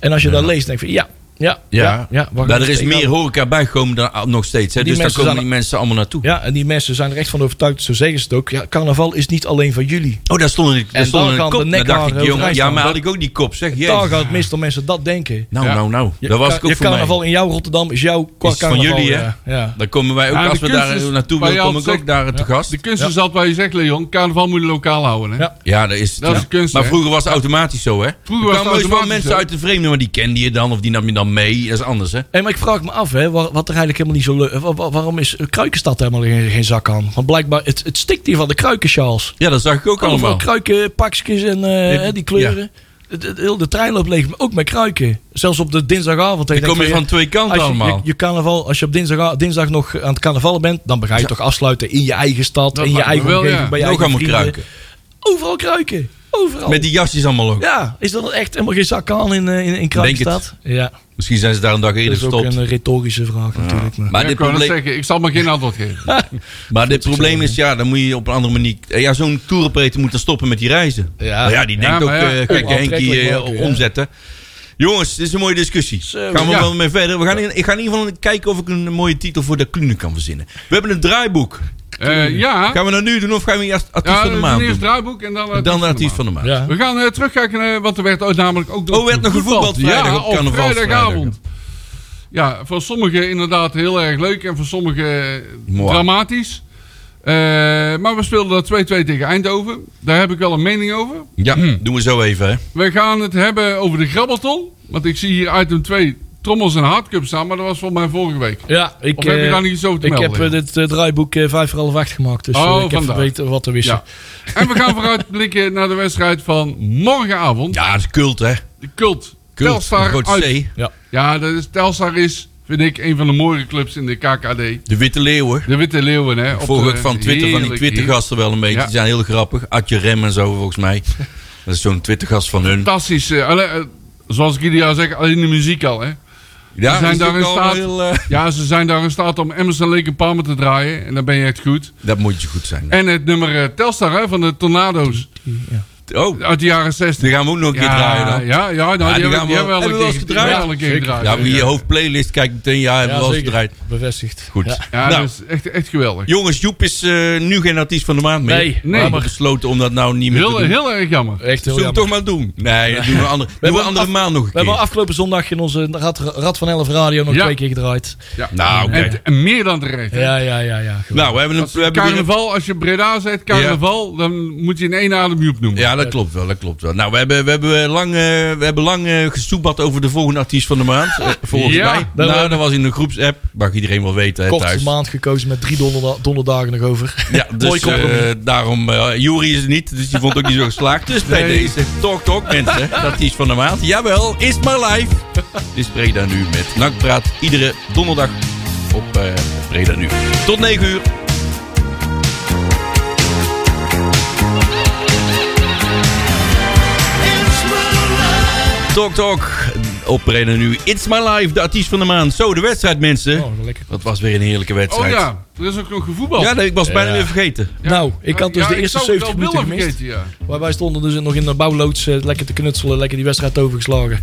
S4: En als je dat leest, denk je van, ja, ja, ja. ja, wacht
S2: maar er
S4: even,
S2: is
S4: ik
S2: meer
S4: ga-
S2: horeca bijgekomen dan ah, nog steeds. Hè? Dus
S4: Die
S2: daar
S4: mensen
S2: komen die
S4: zijn-
S2: mensen allemaal naartoe.
S4: Ja, en die mensen zijn er echt van overtuigd. Zo zeggen ze het ook. Ja, carnaval is niet alleen van jullie.
S2: Oh, daar stond een, daar
S4: En
S2: stond
S4: dan
S2: een
S4: gaan de
S2: kop. Daar dacht
S4: nekharen
S2: ik,
S4: heel
S2: jongen,
S4: vrij
S2: ja,
S4: staan.
S2: maar had ik ook die kop, zeg.
S4: Daar
S2: Jezus.
S4: gaat het mis dat mensen dat denken.
S2: Nou,
S3: Ja.
S2: nou, nou.
S4: Je
S2: dat was
S4: ka-
S2: ik ook
S4: je
S2: voor mij.
S4: carnaval in jouw Rotterdam is jouw qua
S2: Is van
S4: carnaval. eh,
S2: jullie, hè?
S4: ja. Ja.
S2: Dan komen wij ook,
S3: Maar de
S2: als we
S3: kunst
S2: daar eh,
S3: is-
S2: naartoe
S3: waar
S2: willen,
S3: je
S2: kom
S3: al
S2: ik ook
S3: zegt-
S2: daar te gast.
S3: De kunst is altijd waar je zegt, Leon, carnaval moet je lokaal houden. Hè?
S4: Ja.
S2: Ja, dat is,
S3: Dat is
S2: ja.
S3: kunst,
S2: Maar
S3: hè?
S2: vroeger was het automatisch zo, hè?
S3: Vroeger was
S2: er
S3: het
S2: kwamen heus wel
S3: automatisch
S2: mensen
S3: zo.
S2: uit de vreemde, maar die kende je dan of die nam je dan mee. Dat is anders, hè?
S4: Hey, maar ik vraag me af, hè, wa- wat er eigenlijk helemaal niet zo leuk... wa- wa- waarom is eh, Kruikenstad helemaal geen, geen zak aan? Want blijkbaar, het, het stikt hier van de kruikensjaals.
S2: Ja, dat zag ik ook
S4: Allemaal
S2: allemaal.
S4: kruikenpakjes en eh,
S2: Dit-
S4: hè, die kleuren. Het, het- heel de trein loopt leeg, maar ook met kruiken. Zelfs op de dinsdagavond.
S2: Dan kom je van twee kanten
S4: als je,
S2: allemaal.
S4: je, je carnaval, als je op dinsdag, dinsdag nog aan het carnaval bent, dan ga je toch afsluiten in je eigen stad,
S3: Dat
S4: in je
S3: lijkt me
S4: eigen
S3: wel,
S4: omgeving,
S3: ja.
S4: bij je
S2: Ook
S4: eigen
S2: allemaal
S4: vrienden.
S2: kruiken.
S4: Overal kruiken. Overal.
S2: Met die jasjes allemaal ook.
S4: Ja, is dat echt helemaal geen zak aan in, eh, in, in Kruikenstad? Ja,
S2: Misschien zijn ze daar een dag
S4: dat
S2: eerder
S4: is ook
S2: gestopt.
S4: een eh, retorische vraag natuurlijk. Maar.
S2: Maar
S3: Ja,
S2: dit
S3: ik wou net
S2: probleem-
S3: zeggen, ik zal maar geen antwoord geven.
S2: Maar dit probleem is, ja, dan moet je op een andere manier... eh, Ja, zo'n toeroperator moet dan stoppen met die reizen.
S4: Ja.
S2: Maar ja die denkt
S3: Ja,
S2: ook,
S3: maar ja,
S2: eh gekke Henkie eh,
S4: onaantrekkelijk maken, ja.
S2: omzetten. Jongens, dit is een mooie discussie.
S4: Zo,
S2: gaan we
S3: ja.
S2: wel mee verder. We gaan in, ik ga in ieder geval kijken of ik een mooie titel voor de klune kan verzinnen. We hebben een draaiboek.
S3: Eh, ja,
S2: Gaan we dat nu doen of gaan we eerst artiest
S3: ja
S2: van de maand
S3: eerst
S2: doen?
S3: draaiboek en dan, eh,
S2: En dan de artiest van de maand.
S4: Ja.
S3: We gaan eh, terugkijken, naar want er werd ooit namelijk ook...
S2: Oh, werd nog gevoetbald vrijdag
S3: ja,
S2: op carnavalsvrijdag.
S3: vrijdagavond. Ja, voor sommigen inderdaad heel erg leuk en voor sommigen eh,
S2: Mooi.
S3: dramatisch. Eh, maar we speelden dat 2-2 tegen Eindhoven. Daar heb ik wel een mening over.
S2: Ja, doen we zo even. Hè.
S3: We gaan het hebben over de grabbelton. Want ik zie hier item 2 trommels en hardcup staan, maar dat was volgens mij vorige week.
S4: Ja, ik,
S3: Of heb je
S4: eh,
S3: daar niet iets over te
S4: ik
S3: melden,
S4: heb eh, dit eh, draaiboek eh, vijf voor half acht gemaakt. Dus eh,
S3: Oh,
S4: ik heb
S3: vandaar.
S4: weten wat te wissen.
S3: Ja. En we gaan vooruitblikken naar de wedstrijd van morgenavond.
S2: Ja, dat is cult hè.
S3: De cult.
S2: Cult.
S3: Telstar
S2: Groot
S3: uit.
S2: C.
S4: Ja.
S3: Ja, dat is, Telstar is, vind ik, een van de mooiere clubs in de KKD.
S2: De Witte Leeuwen.
S3: De Witte Leeuwen, hè. op
S2: Volg
S3: de-
S2: ik van Twitter, van die
S3: heerlijk,
S2: Twittergasten wel een beetje.
S3: Ja.
S2: Die zijn heel grappig. Adje Rem en zo volgens
S3: *laughs*
S2: mij. Dat is zo'n Twittergast van hun.
S3: Fantastisch. eh, alle- eh, zoals ik jullie al zeg, alleen de muziek al, hè.
S2: Ja,
S3: Ze zijn
S2: is
S3: daar
S2: ook
S3: in
S2: al
S3: staat.
S2: heel, eh,
S3: Ja, ze zijn daar in staat om Emerson, Lake en Palmer te draaien. En dan ben je echt goed.
S2: Dat moet je goed zijn.
S3: En het nummer eh, Telstar, hè, van de Tornado's.
S2: Oh,
S3: Uit de jaren 60.
S2: die gaan we ook nog een keer draaien dan. Ja,
S3: Ja, ja, nou, die,
S2: die
S3: hebben,
S2: gaan we-
S3: die hebben
S2: hebben we
S3: wel
S2: wel
S3: een
S2: eens
S3: keer
S2: gedraaid?
S3: gedraaid. Ja, wel een keer
S4: Zeker.
S3: gedraaid.
S2: maar je hoofdplaylist kijkt meteen. Ja, hebben we wel eens
S4: zeker.
S2: gedraaid.
S4: Bevestigd.
S2: Goed.
S4: Ja.
S3: Ja,
S2: Nou.
S3: dat is echt, echt geweldig.
S2: Jongens, Joep is eh, nu geen artiest van de maand meer.
S4: Nee,
S2: We hebben
S3: maar-
S2: besloten om dat nou niet meer te
S3: Heel,
S2: doen.
S3: heel erg jammer.
S4: Echt heel
S2: Zullen we
S4: jammer.
S2: het toch maar doen? Nee, dat doen we andere, doen we
S4: hebben
S2: andere
S4: af-
S2: maand nog een
S4: We hebben
S2: keer.
S4: afgelopen zondag in onze Rad, Rad van Elf Radio nog
S3: Ja.
S4: twee keer gedraaid.
S3: Ja.
S2: Nou, oké.
S3: En, en meer dan terecht. hè.
S4: Ja, ja, ja. ja. goed.
S2: Nou, we hebben een... We hebben weer een-
S3: Carnaval, als je Breda zegt carnaval, dan moet je in één adem Joep noemen.
S2: ja, dat klopt wel, dat klopt wel. Nou, we hebben, we hebben lang, eh, we hebben lang eh, gesoebat over de volgende artiest van de maand. eh, volgens
S3: Ja,
S2: mij.
S4: dat
S2: nou,
S4: we-
S2: dat was in een groepsapp. Mag iedereen wel weten hè,
S4: Kortste
S2: thuis.
S4: maand gekozen met drie donderda- donderdagen nog over.
S2: Ja,
S4: Mooi
S2: dus
S4: compromis.
S2: eh, daarom, eh Jury is het niet, dus die vond het ook niet zo geslaagd. Dus bij
S3: Nee.
S2: deze Talk Talk mensen, dat is van de maand. Jawel, is my life. Dus Breda Nu met Nakpraat iedere donderdag op eh Breda Nu. Tot 9 uur. Talk Talk op Breda Nu. It's my life, de artiest van de maand. Zo, de wedstrijd mensen.
S4: Oh, lekker.
S2: Dat was weer een heerlijke
S3: Oh
S2: wedstrijd.
S3: ja, er is ook nog gevoetbald.
S2: Ja, nee, ik was bijna
S4: Ja.
S2: weer vergeten.
S4: Nou, ik had dus
S3: Ja,
S4: de eerste
S3: zou het
S4: 70
S3: wel
S4: minuten
S3: willen
S4: gemist.
S3: vergeten, ja.
S4: Maar wij stonden dus nog in de bouwloods eh, lekker te knutselen, lekker die wedstrijd overgeslagen.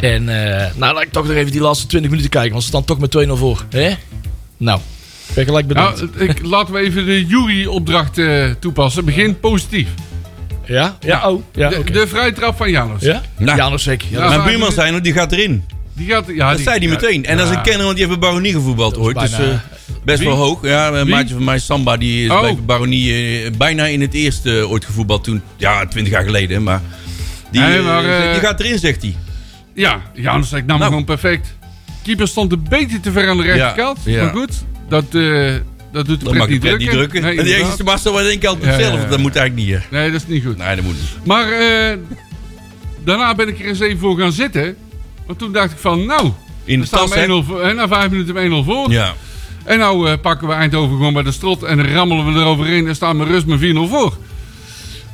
S4: En eh, nou, laat ik toch nog even die laatste 20 minuten kijken, want ze staan toch met 2-0 voor. Hè? Nou, ik ben gelijk bedankt.
S3: Nou, ik, laten we even de jury-opdracht eh, toepassen. Begin positief.
S4: ja? Ja, oh. Ja,
S3: De,
S4: oké.
S3: de vrije trap van Janus.
S4: ja?
S2: Nou.
S4: ja, nog zeker. Ja,
S3: Ja.
S2: Mijn
S3: maar-
S2: buurman zei nog, die gaat erin.
S3: Die gaat, ja,
S2: Dat zei hij meteen. En dat is een kenner, want die heeft bij Baronie gevoetbald
S4: Dat was
S2: ooit. Dus
S4: bijna-
S2: eh, best wel
S3: Wie?
S2: hoog. Ja, een
S3: Wie?
S2: maatje van mij, Samba, die is
S3: Oh.
S2: bij Baronie eh, bijna in het eerste ooit gevoetbald. Toen, ja, twintig jaar geleden. Maar die,
S3: Nee,
S2: eh,
S3: maar, eh,
S2: die gaat erin, zegt hij.
S3: Ja, Janus zei, ik nam
S2: Nou.
S3: gewoon perfect. Keeper stond een beetje te ver aan de rechterkant.
S2: Ja, ja.
S3: Maar goed, dat, eh, dat doet de
S2: Dan
S3: pret
S2: mag ik het
S3: niet drukken.
S2: niet drukken.
S3: Nee,
S2: en die heeft Nou,
S3: inderdaad.
S2: Sebastian wel één kant op
S3: Ja,
S2: zelf.
S3: ja, ja.
S2: Dat moet eigenlijk niet. Hè.
S3: nee, dat is niet goed.
S2: Nee, dat moet niet.
S3: Maar eh, daarna ben ik er eens even voor gaan zitten. Want toen dacht ik van, nou,
S2: In
S3: we
S2: de
S3: staan
S2: tas, hè?
S3: met 1-0 voor- en na vijf minuten 1-0 voor.
S2: Ja.
S3: En nou eh, pakken we Eindhoven gewoon bij de strot en rammelen we eroverheen en staan we rust met 4-0 voor.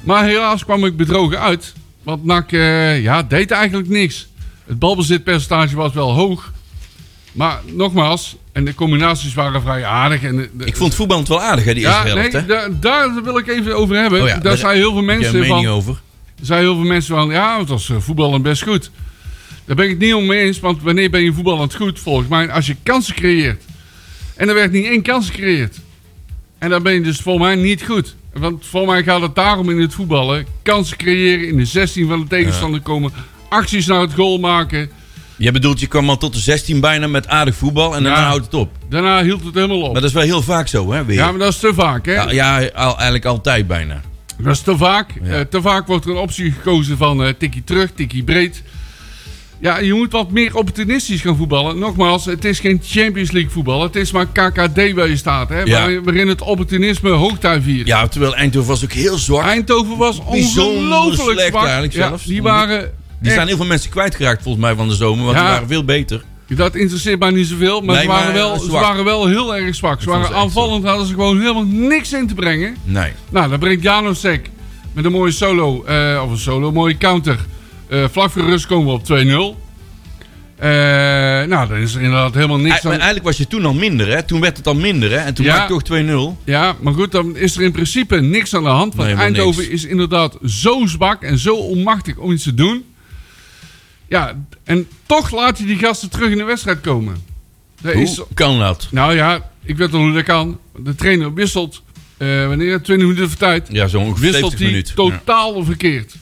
S3: Maar helaas kwam ik bedrogen uit. Want NAC eh, ja, deed eigenlijk niks. Het balbezitpercentage was wel hoog. Maar nogmaals, en de combinaties waren vrij aardig. En de- de-
S2: Ik vond voetbal wel aardig, hè, die eerste
S3: ja,
S2: helft.
S3: nee,
S2: hè?
S3: da- daar wil ik even over hebben.
S2: Oh ja,
S3: daar
S2: daar-
S3: zijn heel veel
S2: Heb jij
S3: mensen
S2: een mening
S3: van
S2: over?
S3: zei heel veel mensen van, ja, het was eh, voetballen best goed. Daar ben ik het niet om mee eens, want wanneer ben je voetballend goed? Volgens mij als je kansen creëert. En er werd niet één kans gecreëerd. En dan ben je dus volgens mij niet goed. Want volgens mij gaat het daarom in het voetballen. Kansen creëren, in de 16 van de tegenstander komen. Acties naar het goal maken.
S2: Je bedoelt, je kwam al tot de 16 bijna met aardig voetbal. En
S3: Ja.
S2: daarna houdt het op.
S3: Daarna hield het helemaal
S2: Maar
S3: op.
S2: dat is wel heel vaak zo, hè? Weer.
S3: Ja, maar dat is te vaak, hè?
S2: Ja, ja, al, eigenlijk altijd bijna.
S3: Dat is te vaak. Eh, te vaak wordt er een optie gekozen van eh, tikkie terug, tikkie breed. Ja, je moet wat meer opportunistisch gaan voetballen. Nogmaals, het is geen Champions League voetbal. Het is maar KKD waar je staat. Hè?
S2: Ja.
S3: Waar- Waarin het opportunisme hoogtij viert.
S2: Ja, terwijl Eindhoven was ook heel zwak.
S3: Eindhoven was
S2: Bijzonder
S3: ongelooflijk
S2: slecht
S3: zwak.
S2: eigenlijk
S3: Ja,
S2: zelfs.
S3: die waren...
S2: Die
S3: echt-
S2: zijn heel veel mensen kwijtgeraakt volgens mij van de zomer, want
S3: Ja.
S2: die waren veel beter.
S3: Dat interesseert mij niet zoveel. Maar,
S2: Nee,
S3: ze, waren
S2: maar,
S3: wel,
S2: eh,
S3: ze
S2: zwak.
S3: waren wel heel erg zwak. Ze
S2: vond
S3: waren
S2: ze echt
S3: aanvallend, hadden ze gewoon helemaal niks in te brengen.
S2: Nee.
S3: Nou, dan brengt Janosek met een mooie solo, eh, of een solo, een mooie counter. Eh vlak voor rust komen we op 2-0. Eh, nou, dan is er inderdaad helemaal
S2: E-
S3: niks
S2: maar
S3: aan.
S2: eigenlijk was je toen al minder, hè? Toen werd het al minder, hè? En toen
S3: Ja.
S2: maakte je toch 2-0.
S3: Ja, maar goed, dan is er in principe niks aan de hand. Want
S2: Nee, helemaal
S3: Eindhoven
S2: niks.
S3: is inderdaad zo zwak en zo onmachtig om iets te doen. Ja, en toch laat je die gasten terug in de wedstrijd komen. Dat is,
S2: Hoe kan dat?
S3: nou ja, ik weet al hoe dat kan. De trainer wisselt eh, wanneer 20 minuten voor tijd.
S2: Ja, zo'n ongeveer
S3: wisselt
S2: 70
S3: hij
S2: minuten. Ja.
S3: totaal verkeerd.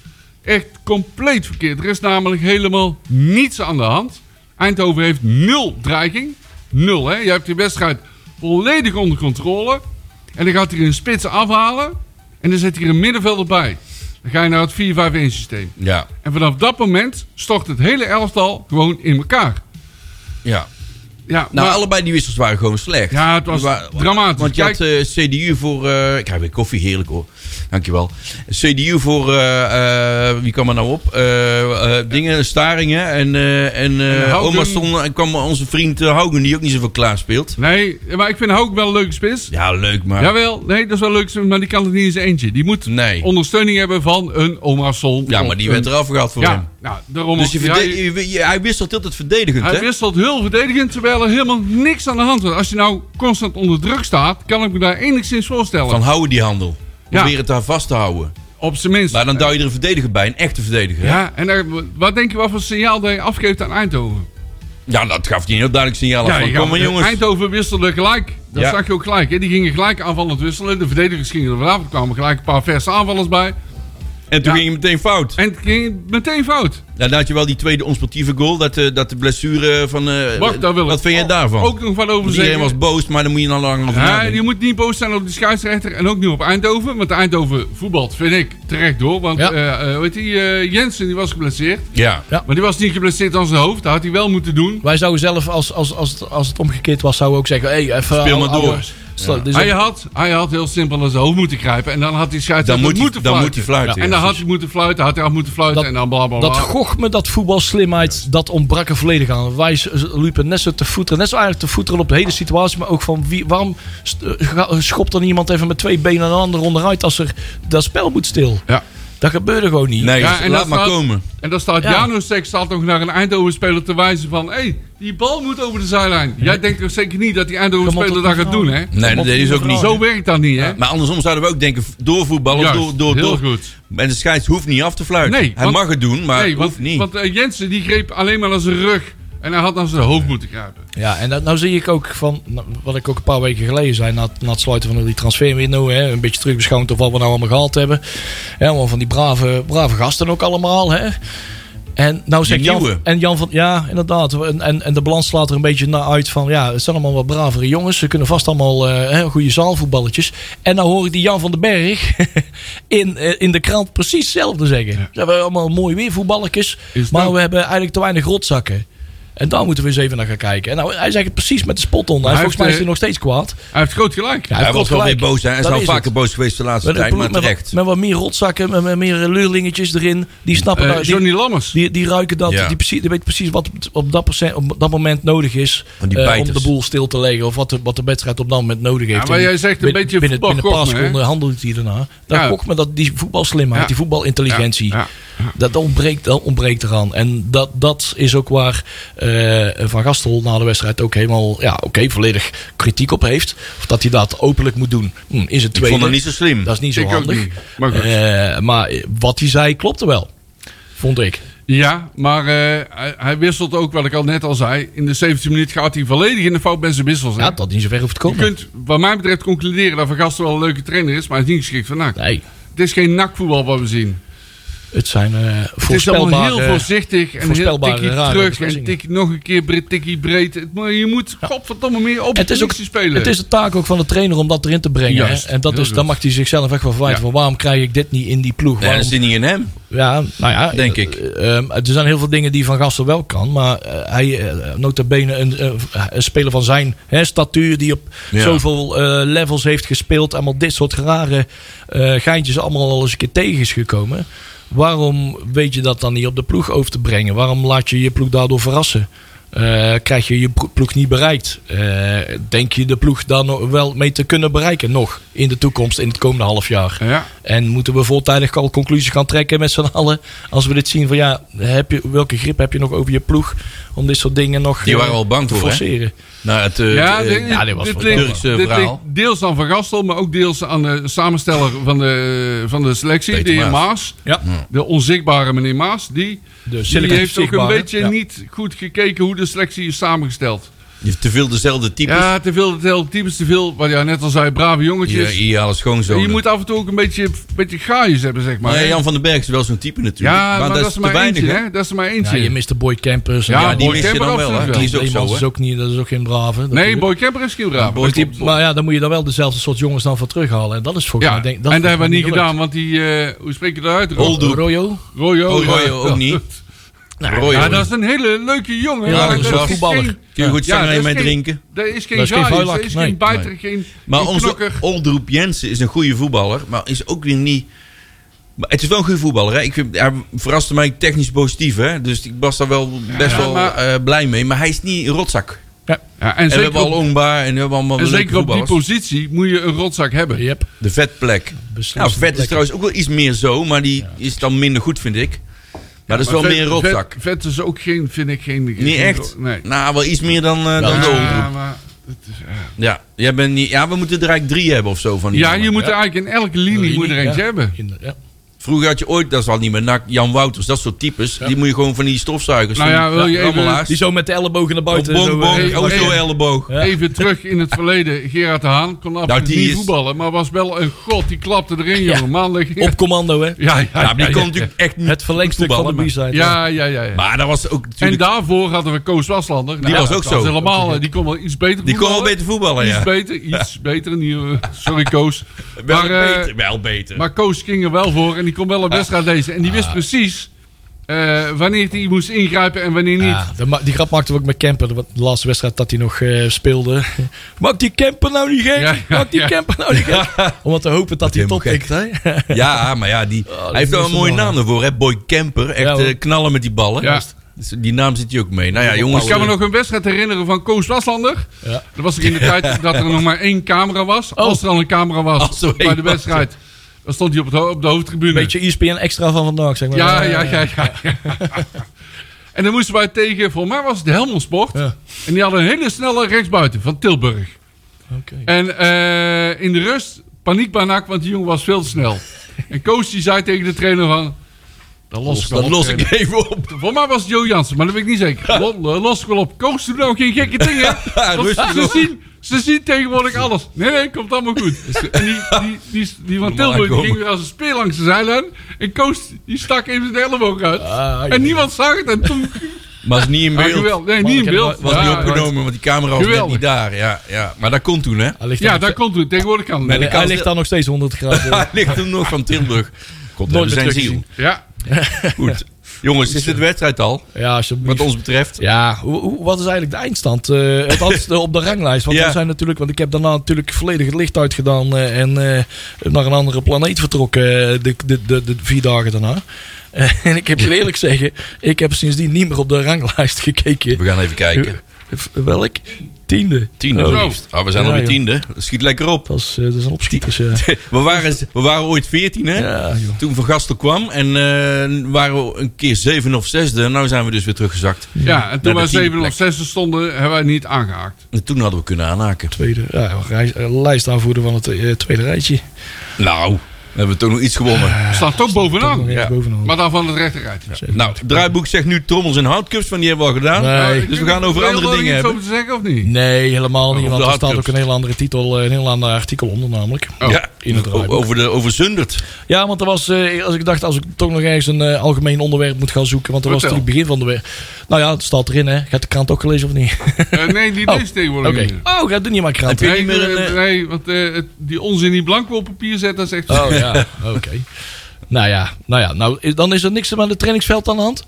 S3: Echt compleet verkeerd. Er is namelijk helemaal niets aan de hand. Eindhoven heeft nul dreiging. Nul, hè? Je hebt die wedstrijd volledig onder controle. En dan gaat hij een spits afhalen. En dan zet hij een middenvelder bij. Dan ga je naar het 4-5-1 systeem.
S2: Ja,
S3: En vanaf dat moment stort het hele elftal gewoon in elkaar.
S2: ja.
S3: Ja,
S2: Nou,
S3: maar-
S2: allebei die wissels waren gewoon slecht.
S3: Ja, het was
S2: Die wa-
S3: dramatisch.
S2: Want je had eh, CDU voor... eh, ik krijg weer koffie, heerlijk hoor. Dankjewel. CDU voor... eh, eh, wie kwam er nou op? Eh, eh, dingen, Staringen. En, eh en eh,
S3: Haugen.
S2: Omerson en kwam onze vriend eh, Haugen, die ook niet zoveel klaar speelt.
S3: Nee, maar ik vind Houk wel een leuke spits.
S2: Ja, leuk, maar...
S3: Jawel, nee, dat is wel leuk, maar die kan het niet in zijn eentje. Die moet
S2: Nee.
S3: ondersteuning hebben van een Omar Son.
S2: Ja,
S3: of
S2: maar die
S3: een-
S2: werd eraf gehaald voor hem.
S3: Ja, nou, daarom...
S2: Dus je
S3: ja,
S2: verde-
S3: je-
S2: je- je- hij wisselt altijd verdedigend,
S3: hij
S2: hè?
S3: wisselt heel verdedigend, terwijl er helemaal niks aan de hand was. Als je nou constant onder druk staat, kan ik me daar enigszins voorstellen.
S2: Van houden die handel.
S3: Ja.
S2: Probeer het daar vast te houden.
S3: Op zijn minst.
S2: Maar dan duw je er een verdediger bij, een echte verdediger. hè?
S3: Ja, en daar, wat denk je wat voor signaal dat je afgeeft aan Eindhoven?
S2: Ja, dat gaf hij een heel duidelijk signaal af.
S3: Ja,
S2: van,
S3: je
S2: kom
S3: gaat-
S2: maar jongens.
S3: Eindhoven wisselde gelijk. Dat
S2: Ja.
S3: zag je ook gelijk. Hè? Die gingen gelijk aanvallend wisselen. De verdedigers gingen er vanaf. Er kwamen gelijk een paar verse aanvallers bij.
S2: En toen
S3: Ja.
S2: ging het meteen fout.
S3: En het ging meteen fout.
S2: Ja, dan had je wel die tweede onsportieve goal. Dat, eh, dat de blessure van... eh,
S3: Wacht, daar wil ik
S2: Wat vind jij
S3: o-
S2: daarvan?
S3: Ook nog wat over
S2: Want iedereen
S3: zeggen.
S2: was boos, maar dan moet je dan lang over
S3: Ja,
S2: nadenken.
S3: je moet niet boos zijn op de scheidsrechter en ook niet op Eindhoven. Want Eindhoven voetbalt, vind ik, terecht door. Want
S4: Ja.
S3: eh, eh, weet die, eh, Jensen die was geblesseerd.
S2: Ja.
S3: Maar die was niet geblesseerd aan zijn hoofd. Dat had hij wel moeten doen.
S4: Wij zouden zelf, als, als, als, het, als het omgekeerd was, zouden we ook zeggen... Hey, even,
S2: Speel maar
S4: ouwe,
S2: door.
S4: sla- dit is
S3: Hij
S4: ook-
S3: had, hij had heel simpel aan zijn hoofd moeten grijpen. En dan had die
S2: Dan
S3: scheidsrechter
S2: moet, hij,
S3: moeten
S2: dan
S3: fluiten.
S2: moet hij fluiten. ja,
S3: en dan had
S2: precies.
S3: hij moeten fluiten, had hij af moeten fluiten
S4: Dat-
S3: en dan bla bla bla.
S4: Dat gochme, dat voetbalslimheid, dat ontbrak er volledig aan. Wij s- liepen net zo te voeteren, net zo eigenlijk te voeteren op de hele situatie, maar ook van wie, waarom st- eh, ga- schopt dan iemand even met twee benen een ander onderuit als er dat spel moet stil?
S3: Ja.
S4: Dat gebeurde gewoon niet.
S2: Nee,
S3: Ja,
S2: dus
S3: en
S2: laat
S3: dat
S2: maar
S3: staat-
S2: komen.
S3: En dan staat
S4: Ja.
S3: Janosek staat nog naar een Eindhoven-speler te wijzen van... Hé, hey, die bal moet over de zijlijn. Jij denkt toch zeker niet dat die
S4: Kom
S3: Eindhoven-speler
S4: op,
S3: dat
S4: dat
S3: gaat doen, hè?
S2: Nee, dat
S4: Omdat
S2: deed
S4: hij
S2: ze ook niet.
S4: overal-
S3: Zo werkt dat niet, hè?
S2: Maar andersom zouden we ook denken, doorvoetballen
S3: Juist,
S2: door, door,
S3: heel
S2: door.
S3: goed.
S2: En de scheids hoeft niet af te fluiten.
S3: Nee,
S2: hij
S3: want-
S2: mag het doen, maar
S3: nee, want,
S2: hoeft niet.
S3: want eh, Jensen die greep alleen maar aan zijn rug. En hij had aan zijn hoofd moeten kruipen.
S4: Ja, en dat, nou zie ik ook van, nou, wat ik ook een paar weken geleden zei, na, het- na het sluiten van die transferwindow, hè, een beetje terugbeschouwd of wat we nou allemaal gehaald hebben. Hè, allemaal van die brave, brave gasten ook allemaal. Hè. En nou zegt
S2: nieuwe.
S4: Jan, en Jan van, ja, inderdaad. En, en, en de balans slaat er een beetje naar uit van, ja, het zijn allemaal wat bravere jongens. Ze kunnen vast allemaal eh, hè, goede zaalvoetballetjes. En nou hoor ik die Jan van den Berg *laughs* in, eh, in de krant precies hetzelfde zeggen. Ze hebben allemaal mooi weer voetballetjes,
S3: Is
S4: maar
S3: dat-
S4: we hebben eigenlijk te weinig rotzakken. En daar moeten we eens even naar gaan kijken. En nou, hij zegt het precies met de spot on. Hij
S3: Hij
S4: volgens mij
S3: heeft,
S4: is hij
S3: eh,
S4: nog steeds kwaad.
S3: Hij heeft groot gelijk.
S4: Ja,
S2: hij
S4: heeft
S2: was
S4: wel
S2: wel weer
S4: gelijk.
S2: boos. Hij is
S4: Dat
S2: al
S4: is
S2: vaker
S4: het.
S2: boos geweest de laatste
S4: Met, een
S2: tijd,
S4: ploeg
S2: maar
S4: met,
S2: terecht.
S4: wat- met wat meer rotzakken, met, met meer eh, leurlingetjes erin. Die snappen
S3: Eh,
S4: dat. Die,
S3: Johnny Lammers.
S4: die, die ruiken dat.
S2: Ja.
S4: Die, precies, die weten precies wat op- op dat, percent, op dat moment nodig is.
S2: Van die
S4: eh, om
S2: bijters.
S4: de boel stil te leggen. Of wat de, wat de wedstrijd op dat moment nodig heeft.
S3: Ja, maar
S4: En
S3: jij zegt een
S4: binnen-
S3: beetje
S4: Binnen, binnen een
S3: voetbal
S4: paar
S3: kocht me, hè?
S4: seconden handelt hij daarna. Dan
S3: Ja.
S4: kocht me dat, die voetbalslimheid,
S3: Ja.
S4: die voetbalintelligentie.
S3: Ja,
S4: Dat ontbreekt, dat ontbreekt eraan. En dat, dat is ook waar eh, Van Gastel na de wedstrijd ook helemaal ja, oké, volledig kritiek op heeft. Of dat hij dat openlijk moet doen. Hm, is het
S2: Ik
S4: tweede.
S2: vond dat niet zo slim.
S4: Dat is niet zo
S3: Ik ook
S4: handig.
S3: niet. Maar goed.
S4: Eh, maar wat hij zei klopte wel. Vond ik.
S3: Ja, maar eh, hij, hij wisselt ook, wat ik al net al zei. In de 17e minuut gaat hij volledig in de fout bij zijn wissels. hè?
S4: Ja, dat niet zo ver hoeft te
S3: Je
S4: komen.
S3: kunt wat mij betreft concluderen dat Van Gastel wel een leuke trainer is, maar hij is niet geschikt voor NAC.
S4: Nee,
S3: Het is geen NAC-voetbal wat we zien.
S4: het zijn eh
S3: Het is allemaal heel
S4: voorspelbare...
S3: voorzichtig en heel
S4: voorspelbare,
S3: tikkie
S4: rare
S3: terug en
S4: beslissingen.
S3: tikkie nog een keer bre- tikkie breed. Het, moet- je moet godverdomme meer op
S4: het is, ook,
S3: spelen.
S4: het is de taak ook van de trainer om dat erin te brengen.
S3: Juist,
S4: hè. En dat
S3: heel
S4: is,
S3: goed.
S4: dan mag hij zichzelf echt wel verwijten.
S3: Ja.
S4: Van waarom krijg ik dit niet in die ploeg?
S2: Ja, dat
S4: Waarom
S2: zit niet in hem.
S4: Ja, nou ja,
S2: Denk
S4: eh,
S2: ik.
S4: eh, ehm, er zijn heel veel dingen die Van Gastel wel kan. Maar eh, hij, eh, nota bene, een, eh, een speler van zijn hè, statuur... die op
S2: Ja.
S4: zoveel eh, levels heeft gespeeld... allemaal dit soort rare eh, geintjes allemaal al eens een keer tegen is gekomen. Waarom weet je dat dan niet op de ploeg over te brengen? Waarom laat je je ploeg daardoor verrassen? Eh, krijg je je plo- ploeg niet bereikt? Eh, denk je de ploeg daar nog wel mee te kunnen bereiken? Nog in de toekomst, in het komende half jaar?
S3: Ja,
S4: En moeten we voortijdig al conclusies gaan trekken met z'n allen. Als we dit zien van ja, heb je, welke grip heb je nog over je ploeg om dit soort dingen nog
S2: Die
S4: eh,
S2: waren al bang
S4: te
S2: voor, hè?
S4: forceren?
S2: Nou, het, eh,
S3: ja,
S2: het,
S3: dit,
S2: eh,
S4: ja, dit was
S3: dit
S4: voor-
S3: ligt-
S2: Turkse
S3: dit
S2: verhaal.
S3: ligt deels aan Van Gastel, maar ook deels aan de samensteller van de, van de selectie,
S2: Peter
S3: de heer
S2: Maas.
S3: Maas.
S4: Ja,
S3: De onzichtbare meneer Maas. Die,
S4: de
S3: die heeft ook een beetje
S4: ja.
S3: niet goed gekeken hoe de selectie is samengesteld.
S2: je hebt te veel dezelfde types.
S3: Ja, te veel, te veel types, te veel, wat jij net al zei, brave
S2: hier,
S3: jongetjes.
S2: hier alles gewoon zo.
S3: je moet af en toe ook een beetje, beetje gaaiers hebben, zeg maar.
S2: Maar Jan van den Berg is wel zo'n type natuurlijk.
S3: ja, maar, dat, is
S2: te
S3: er maar eentje,
S2: hè?
S3: hè? Dat is er maar
S4: Ja,
S3: eentje.
S4: je mist de boy campers. en
S3: Ja,
S2: Ja, die
S3: Boy
S2: mis je
S3: Kemper
S2: dan wel, hè?
S3: absoluut
S2: Die is
S4: Leemans
S2: ook zo,
S4: is
S2: hè?
S4: ook niet, dat is ook geen brave.
S3: nee,
S4: natuurlijk.
S3: Boy Kemper is geen braaf.
S2: Boy
S4: Dus die-
S2: Kemper-
S4: maar ja, dan moet je dan wel dezelfde soort jongens dan van terughalen. En dat is voor
S3: Ja,
S4: mij, denk,
S3: en dat
S4: is
S3: hebben we niet
S4: gelukt.
S3: gedaan, want die, eh, hoe spreek je dat uit? Ro-
S2: Oldoe.
S4: Royo?
S3: Royo.
S2: Oh, Royo
S3: ja. Nou,
S2: ook niet. Roy,
S3: Ja,
S2: hoor.
S3: dat is een hele leuke jongen.
S4: Ja,
S3: maar
S2: dat is wel
S3: geen-
S4: voetballer.
S2: Kun je goed
S3: Ja,
S2: zanger
S3: dat is
S2: mee
S3: geen-
S2: drinken?
S3: Dat is
S4: Dat
S3: geen
S4: is geen
S3: gaai, dat
S4: vuilak,
S3: is
S4: nee.
S3: geen bijter, geen,
S2: Maar
S3: geen
S2: onze
S3: knokker.
S2: Oldroep Jensen is een goede voetballer, maar is ook weer niet... Maar het is wel een goede voetballer. Hè? Ik vind, hij verraste mij technisch positief. Hè? Dus ik was daar wel best
S3: Ja,
S2: wel
S3: maar-
S2: eh, blij mee. Maar hij is niet een rotzak. En
S3: Ja, en
S2: we
S3: zeker,
S2: hebben al
S3: op,
S2: Ongba en we hebben allemaal
S3: en
S2: leuke
S3: zeker op die
S2: voetballers.
S3: positie moet je een rotzak hebben.
S4: Yep,
S2: De vetplek. Nou,
S4: beslist.
S2: vet is trouwens ook wel iets meer zo, maar die is dan minder goed, vind ik. Maar dat is wel
S3: Maar
S2: meer een
S3: vet-
S2: rotzak.
S3: Vet, vet is ook geen, vind ik geen...
S2: Niet
S3: geen-
S2: echt?
S3: Nee.
S2: Nou, wel iets meer dan, eh, dan de
S3: Ja,
S2: omroep.
S3: maar het is, ja.
S2: Ja. Jij bent niet, ja, we moeten er eigenlijk drie hebben of zo van die
S3: ja,
S2: mannen.
S3: je moet er eigenlijk in elke linie moet er eentje
S4: Ja.
S3: hebben.
S4: Kinder- ja.
S2: Vroeger had je ooit, dat is al niet meer, nak, Jan Wouters, dat soort types. Die moet je gewoon van die stofzuigers.
S3: Nou ja,
S2: die
S3: wil je even-
S2: rammelaars.
S4: Die zo met de ellebogen naar
S2: Op
S4: buiten.
S2: bonk,
S4: zo, eh,
S2: bonk,
S3: eh,
S2: oh,
S3: eh,
S2: zo elleboog.
S4: Ja.
S3: Even terug in het verleden. Gerard de Haan kon absoluut
S2: Nou, die
S3: niet
S2: is-
S3: voetballen. Maar was wel een god. Die klapte erin,
S4: Ja.
S3: jongen. Maandag.
S4: Op commando, hè?
S3: Ja, ja,
S2: Ja, maar die
S3: ja,
S2: kon
S3: ja.
S2: natuurlijk echt niet
S4: Het verlengstuk van
S2: voetballen,
S4: de
S2: maar-
S4: B-side.
S3: Ja, ja, ja. ja.
S2: Maar dat was ook
S3: En
S2: natuurlijk...
S3: daarvoor hadden we Koos Waslander. Nou,
S2: Die was
S3: dat
S2: ook zo.
S3: helemaal, eh, die kon wel iets beter
S2: die kon wel
S3: voetballen.
S2: beter voetballen, ja.
S3: Iets beter, iets beter. Niet, eh, sorry Koos.
S2: *laughs* Wel
S3: Maar, eh,
S2: beter, wel beter.
S3: maar Koos ging er wel voor en die kon wel een wedstrijd lezen. En die wist precies eh, wanneer hij moest ingrijpen en wanneer niet.
S4: Ja, dat ma- die grap maakten we ook met Kemper. De, de laatste wedstrijd dat hij nog eh, *laughs* speelde. Maak die Kemper nou niet gek!
S3: Ja, ja,
S4: Maak die
S3: ja.
S4: Kemper nou niet *laughs* gek! Om maar te hopen dat hij
S2: Helemaal
S4: top tikt, hè? *laughs*
S2: Ja, maar ja, die, hij heeft
S4: is
S2: Oh, wel een
S4: niet
S2: mooie
S4: zo
S2: naam ervoor, hè? Boy Kemper.
S4: Ja,
S2: Echt
S4: hoor.
S2: eh, knallen met die ballen.
S3: Ja.
S2: Dus die naam zit hier ook mee. Nou ja, jongens.
S3: Ik kan me
S2: eh,
S3: nog een wedstrijd herinneren van Koos Waslander.
S4: Ja.
S3: Dat was ik in de tijd dat er nog maar één camera was. Als er al een camera
S2: Als
S3: was
S2: er
S3: bij
S2: één
S3: de
S2: was,
S3: wedstrijd. Dan stond hij op, het ho- op de hoofdtribune.
S4: Beetje E ESPN extra van vandaag, zeg maar.
S3: Ja, ja, ja, ja. *laughs* en dan moesten wij tegen, volgens mij was het de Helmond Sport.
S4: Ja.
S3: En die hadden een hele snelle rechtsbuiten van Tilburg.
S4: Oké.
S3: En eh, in de rust, paniek bij NAC, want die jongen was veel te snel. en coach die zei tegen de trainer van... Dan los ik wel
S2: Dat
S3: op,
S2: los
S3: trainer."
S2: ik even
S3: *laughs*
S2: op.
S3: Volgens mij was het Joe Jansen, maar dat weet ik niet
S2: *laughs*
S3: zeker. Lo- eh, Los ik wel op. Coach, doe nou geen gekke dingen. Want
S2: rustig
S3: ze,
S2: op.
S3: zien, ze zien tegenwoordig alles. Nee, nee, komt allemaal goed. En die, die, die,
S2: *laughs*
S3: die van
S2: Normaal
S3: Tilburg die
S2: aankomen.
S3: ging weer als een speer langs de zijlijn. En Coach die stak even zijn elleboog uit.
S4: Ah,
S3: en niemand zag het.
S2: *laughs*
S3: En toen...
S2: Maar is niet in
S3: Ah,
S2: beeld.
S3: geweldig. Nee,
S4: Maar
S3: niet in
S4: ik heb
S3: beeld.
S4: hem-
S2: Was
S3: Ja,
S2: niet
S3: ja,
S2: opgenomen, want die camera was net
S3: Geweldig.
S2: niet daar. Ja, ja. Maar dat kon toen, hè?
S4: Hij ligt,
S3: Ja,
S4: daar,
S3: daar
S4: nog,
S3: komt het. Tegenwoordig kan
S4: hij,
S3: het.
S2: kan-
S4: ligt daar nog steeds 100 graden. *laughs*
S2: Hij ligt toen nog van Tilburg. God,
S4: Nooit
S2: hebben
S4: meer
S2: zijn ziel.
S4: teruggezien.
S3: Ja.
S2: Goed. Jongens, is dit wedstrijd al?
S4: ja, alsjeblieft.
S2: Wat ons betreft.
S4: Ja, hoe, hoe- wat is eigenlijk de eindstand? eh althans, eh, op de ranglijst. Want,
S2: Ja.
S4: we zijn natuurlijk, want ik heb daarna natuurlijk volledig het licht uitgedaan eh, en eh, naar een andere planeet vertrokken eh, de, de, de, de vier dagen daarna. *laughs* Eh, en ik heb je eerlijk zeggen, ik heb sindsdien niet meer op de ranglijst gekeken.
S2: We gaan even kijken.
S4: Eh, Welk? Tiende.
S2: Tiende.
S4: Oh,
S2: liefst. Ah, we zijn
S4: Ja,
S2: alweer
S4: joh.
S2: tiende. Dat schiet lekker op.
S4: dat, is, eh, dat is een opschieters. eh.
S2: *laughs* We waren, we waren ooit veertien, hè?
S4: Ja, joh.
S2: Toen Van Gastel kwam. En eh, waren we een keer zeven of zesde. En nou zijn we dus weer teruggezakt.
S3: ja, en
S2: Naar
S3: toen wij
S2: de tiende
S3: 7 of 6 stonden, hebben wij niet aangehaakt.
S2: En toen hadden we kunnen aanhaken.
S4: Tweede. Ja, rij- eh, lijstaanvoerder van het eh, tweede rijtje.
S2: Nou, dan hebben we toch nog iets gewonnen.
S3: Staat toch bovenaan.
S4: Ja. Bovenaan.
S3: Oh, Maar dan van het rechterrijtje.
S2: nou, het draaiboek zegt nu trommels en houtcups, van die hebben we al gedaan.
S4: Nee.
S3: Nou, ik
S2: Dus we
S3: weet
S2: gaan
S3: niet,
S2: over
S3: wil je
S2: andere
S3: er
S2: dingen
S3: iets
S2: hebben.
S3: over te zeggen of niet?
S4: Nee, helemaal
S2: Of
S4: niet.
S2: de Oh.
S4: Want er staat
S2: hardcups.
S4: ook een heel andere titel, eh, een heel ander artikel onder namelijk.
S2: ja,
S4: in het draaiboek.
S2: over, de, over Zundert.
S4: Ja, want er was, eh, als ik dacht, als ik toch nog ergens een eh, algemeen onderwerp moet gaan zoeken. Want er was
S3: Vertel.
S4: natuurlijk begin van de week. Nou ja, het staat erin, hè. Gaat de krant ook gelezen of niet?
S3: Eh, nee, die
S4: Oh,
S3: leest tegenwoordig
S4: Oké.
S3: niet meer.
S4: Oh, gaat er niet maar krant.
S2: Heb je-
S4: hè?
S3: Nee,
S2: niet meer
S3: eh,
S2: een, eh,
S3: nee, want eh, het- die onzin die blanco op papier zet, dat is echt...
S4: Oh ja, oké. Nou ja, nou ja, nou, is- dan is er niks aan het trainingsveld aan de hand.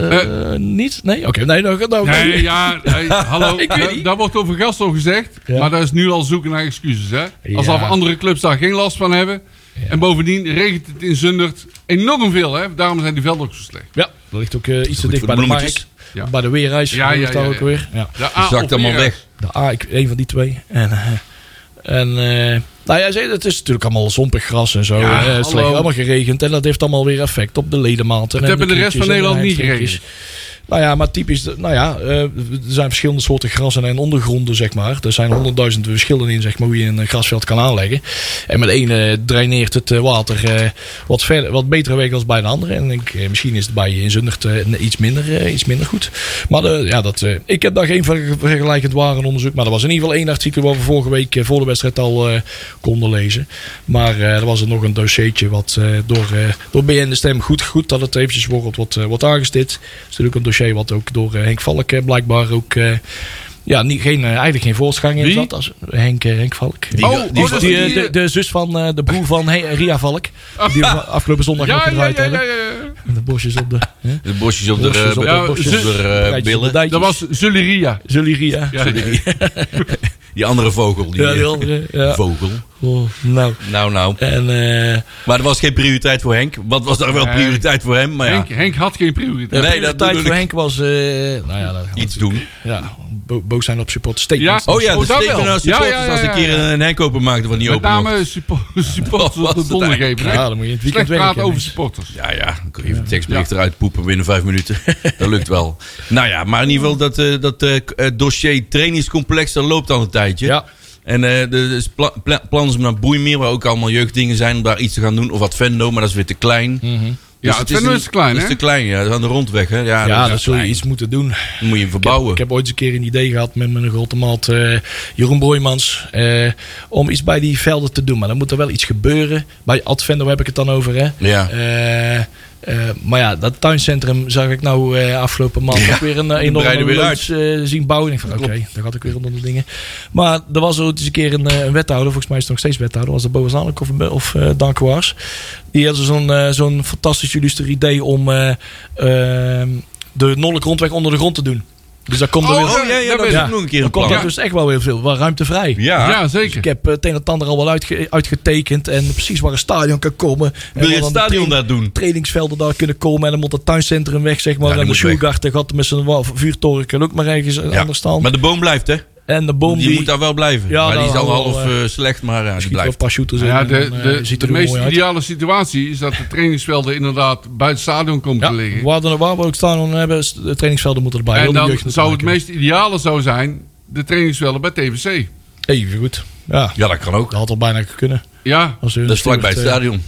S4: Eh,
S3: Eh.
S4: niet? Nee? Oké, *laughs* nee, nou, nou,
S3: Nee, ja, nee, hallo.
S4: Ik weet
S3: da-
S4: niet.
S3: Daar wordt over Gastel gezegd.
S4: Ja.
S3: Maar dat is nu al zoeken naar excuses. Hè? Alsof
S4: Ja.
S3: andere clubs daar geen last van hebben. En bovendien regent het in Zundert enorm veel. Hè? Daarom zijn die velden ook zo slecht.
S4: Ja, dat ligt ook eh, iets te
S2: goed
S4: dicht
S2: voor
S4: bij
S2: de
S4: de
S2: bloemetjes.
S4: markt.
S3: Ja.
S4: Bij de weerreis.
S3: Ja,
S4: Ja,
S3: ja,
S4: ja,
S3: ja,
S4: ook
S3: ja. ah,
S4: weer. Ja.
S3: De
S2: Die
S3: A
S2: zakt allemaal
S3: operen.
S2: weg.
S4: De A, ik, een van die twee. En, eh, en eh, nou ja, ze- het is natuurlijk allemaal zompig gras en zo.
S3: Ja,
S4: Eh, het is
S3: hallo.
S4: allemaal geregend en dat heeft allemaal weer effect op de ledematen.
S3: Het
S4: en
S3: hebben de rest van
S4: knietjes en
S3: Nederland niet
S4: de
S3: geregeld.
S4: Nou ja, maar typisch, nou ja, eh, er zijn verschillende soorten grassen en ondergronden, zeg maar. Er zijn honderdduizend verschillen in, zeg maar, hoe je een grasveld kan aanleggen. En met de ene draineert het eh, water eh, wat, verder, wat betere weg als bij de andere. En ik, eh, misschien is het bij in Zundert eh, iets, minder, eh, iets minder goed. Maar eh, ja, dat, eh, ik heb daar geen ver- vergelijkend waren onderzoek. Maar er was in ieder geval één artikel waar we vorige week eh, voor de wedstrijd al eh, konden lezen. Maar eh, er was er nog een dossiertje wat eh, door, eh, door BN de Stem goed, goed dat het eventjes wordt, wordt, eh, wordt aangestipt. Het is natuurlijk een dossier wat ook door eh, Henk Valk eh, blijkbaar ook... eh, ja, niet, geen, eh, eigenlijk geen voortgang in
S3: Wie?
S4: zat. Als Henk, eh, Henk Valk.
S3: Oh, oh, dat is
S4: Die, eh,
S3: die,
S4: de, de zus van eh, de broer van He- Ria Valk.
S3: *laughs*
S4: Die we afgelopen zondag nog
S3: Ja, ja,
S4: gedraaid
S3: ja, ja,
S4: hebben.
S3: ja.
S4: En de bosjes op de... hè?
S2: De bosjes op de,
S4: Bosjes op
S2: eh,
S3: ja,
S4: de bosjes.
S3: zus-
S2: op de, eh,
S4: Dijtjes op de
S2: billen.
S3: Dat
S4: dijtjes.
S3: was Zulleria.
S4: Zullen eh, Ria.
S3: Ja, ja, ja.
S2: *laughs* Die andere vogel. Die,
S4: Ja, die
S2: eh,
S4: andere, ja.
S2: Vogel.
S4: Oh, nou.
S2: Nou, nou.
S4: En eh
S2: Maar er was geen prioriteit voor Henk. Wat was daar wel
S3: Nee.
S2: prioriteit voor hem? Maar ja,
S3: Henk, Henk had geen prioriteit.
S2: Nee,
S4: nee,
S2: dat
S4: de tijd
S2: bedoel
S4: voor
S2: ik.
S4: Henk was... eh nou ja, dat gaan we-
S2: iets doen.
S4: ja bo- boos zijn op support. Statements.
S3: Ja.
S2: Oh ja,
S3: Oh,
S2: de
S3: dat
S2: statement
S3: wel.
S2: als
S3: Ja,
S2: supporters
S3: ja, ja,
S2: als een
S3: ja,
S2: keer
S3: ja.
S2: een Henk openmaakte van die
S3: Met
S2: open mond.
S3: name suppo- *laughs* supporters
S2: was
S3: op de
S2: het
S3: donder
S2: eigenlijk?
S3: geven.
S4: Ja,
S3: hè?
S4: dan moet je in het
S3: Slecht
S4: weekend
S3: praten
S4: werken.
S3: over
S4: mensen.
S3: supporters.
S2: Ja, ja, dan kun je even een tekstbericht eruit poepen binnen vijf minuten. dat lukt wel. Nou ja, maar in ieder geval dat, eh, dat eh, k- eh, dossier trainingscomplex, dat loopt al een tijdje.
S4: Ja.
S2: En eh dus pla- pla- plannen ze om naar Boeimeer, waar ook allemaal jeugddingen zijn, om daar iets te gaan doen. Of wat Vendo, maar dat is weer te klein. Dus
S3: Ja, het Venlo is te klein,
S2: Dat is
S3: hè?
S2: te klein, ja. Dat is aan de rondweg, hè. Ja,
S4: Ja,
S2: dat,
S4: dat
S2: is
S4: zul je
S2: klein.
S4: iets moeten doen.
S2: Dan moet je
S4: Ik heb,
S2: verbouwen.
S4: ik heb ooit eens een keer een idee gehad met mijn grote maat eh, Jeroen Boijmans. eh, om iets bij die velden te doen. Maar dan moet er wel iets gebeuren. Bij Advendo heb ik het dan over. Hè?
S2: Ja.
S4: Eh, eh, maar ja, dat tuincentrum zag ik nou eh, afgelopen maand ook
S2: *laughs*
S4: weer een eh, enorme
S2: breiden weer
S4: loods eh, zien bouwen. Ik dacht, oké, daar had ik weer onder de dingen. Maar er was ooit eens een keer een, eh, een wethouder, volgens mij is het nog steeds wethouder, was dat Bovenzaanlijk of, of eh Dankwaars. Die had zo'n eh, zo'n fantastisch illuster idee om eh, ehm, de Nollek rondweg onder de grond te doen. Dus daar komt er
S3: Oh,
S4: weer...
S2: Oh ja, ja,
S3: Dat
S2: dat
S3: is
S2: is
S4: ja.
S2: ook nog een keer
S4: dan
S2: een
S4: komt
S2: plan.
S4: er dus echt wel heel veel wel ruimte vrij.
S2: Ja.
S3: Ja,
S4: Ik
S3: zeker.
S4: heb eh, het een en het ander al wel uitge- uitgetekend. En precies waar een stadion kan komen. En
S2: Wil je
S4: waar
S2: het
S4: dan de
S2: stadion
S4: tra-
S2: daar doen?
S4: trainingsvelden daar kunnen komen. En dan moet dat tuincentrum weg, zeg maar.
S2: Ja, die
S4: en de
S2: moet weg.
S4: Sjoegart, de gat met zijn wa- vuurtoren kan ook maar ergens
S2: Ja.
S4: anders staan.
S2: Maar de boom blijft, hè?
S4: en de
S2: Die,
S4: boom die,
S2: moet daar wel blijven.
S4: Ja,
S2: maar die is
S4: nou,
S2: al
S4: al,
S2: half
S4: eh,
S2: eh, slecht, maar ja, die
S4: schiet wel een
S2: blijft.
S4: paar shooters
S3: Ja,
S4: in.
S3: de,
S4: en, eh,
S3: de,
S4: ziet
S3: de
S4: er
S3: meest
S4: mooi uit.
S3: ideale situatie is dat de trainingsvelden inderdaad buiten het stadion komen te
S4: Ja,
S3: liggen.
S4: waar, dan, waar we ook staan, dan hebben de trainingsvelden moeten erbij. Heel
S3: en
S4: de
S3: dan
S4: jeugd moet
S3: zou het
S4: maken.
S3: meest ideale zou zijn de trainingsvelden bij TVC.
S4: Even goed. Ja, eh,
S2: Ja, dat kan ook.
S4: dat had al bijna kunnen.
S3: Ja,
S4: Als
S2: Dat is vlakbij het stadion.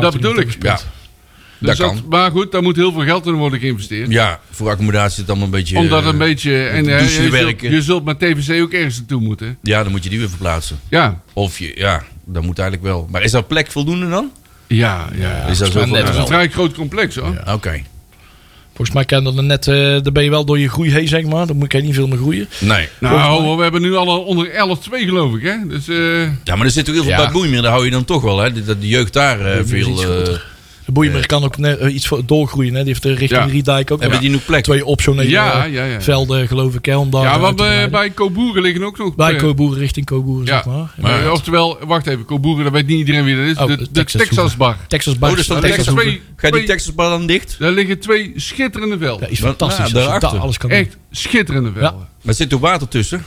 S3: dat bedoel ik.
S2: Ja,
S3: Dus
S2: dat
S3: dat-
S2: kan.
S3: maar goed, daar moet heel veel geld in worden geïnvesteerd.
S2: Ja, voor accommodatie is het allemaal een beetje...
S3: Omdat
S2: eh,
S3: een beetje... En,
S2: de
S3: eh,
S2: douche
S3: je, zult,
S2: werken.
S3: je zult met TVC ook ergens naartoe moeten.
S2: Ja, dan moet je die weer verplaatsen.
S3: Ja,
S2: Of je, ja, dat moet eigenlijk wel. Maar is daar plek voldoende dan?
S3: ja, ja.
S2: is dat
S4: maar
S2: zoveel?
S4: net
S3: Het is
S2: Ja.
S3: een vrij groot complex hoor.
S2: Oké.
S4: Volgens mij kan dat dan net, eh daar ben je wel door je groei heen, zeg maar. Dan moet ik niet veel meer groeien.
S2: Nee.
S3: Nou, hoor, we hebben nu al onder 11-2 geloof ik hè. Dus eh,
S4: Oh,
S2: Ja, maar er zit ook heel veel
S4: Ja.
S2: bij Boeimeer. Daar hou je dan toch wel, hè? Dat de jeugd daar eh, veel...
S4: iets
S2: eh,
S4: groter. De boeimer kan ook net, eh, iets voor- doorgroeien. Hè. Die heeft eh, richting
S3: Ja.
S4: Riedijk ook
S2: Hebben
S4: nog
S2: die nog plek?
S4: twee optionele
S3: Ja,
S4: eh,
S3: ja, ja.
S4: velden, geloof ik. Hè, om daar
S3: ja,
S4: eh,
S3: want
S4: te
S3: eh,
S4: breiden.
S3: bij Koboeren liggen ook nog...
S4: bij
S3: eh,
S4: Koboeren richting Koboeren,
S3: Ja,
S4: zeg maar.
S3: maar, oh.
S4: Ja.
S3: oftewel, wacht even, Koboeren, dat weet niet iedereen wie dat is.
S4: Oh,
S3: de,
S4: de
S3: de
S4: Texas
S3: Texas, Bar.
S4: Texas
S2: Oh,
S4: Bar.
S2: dus dan
S3: Daar
S2: Texas
S3: liggen
S2: Hoeven.
S3: twee,
S2: Gaat die
S3: twee-
S2: Texasbar dan dicht?
S3: daar liggen twee schitterende velden.
S4: Ja, is
S2: Ja,
S4: fantastisch. als je
S2: daarachter.
S4: daar alles kan doen.
S3: Echt schitterende velden.
S2: Maar zit er water tussen?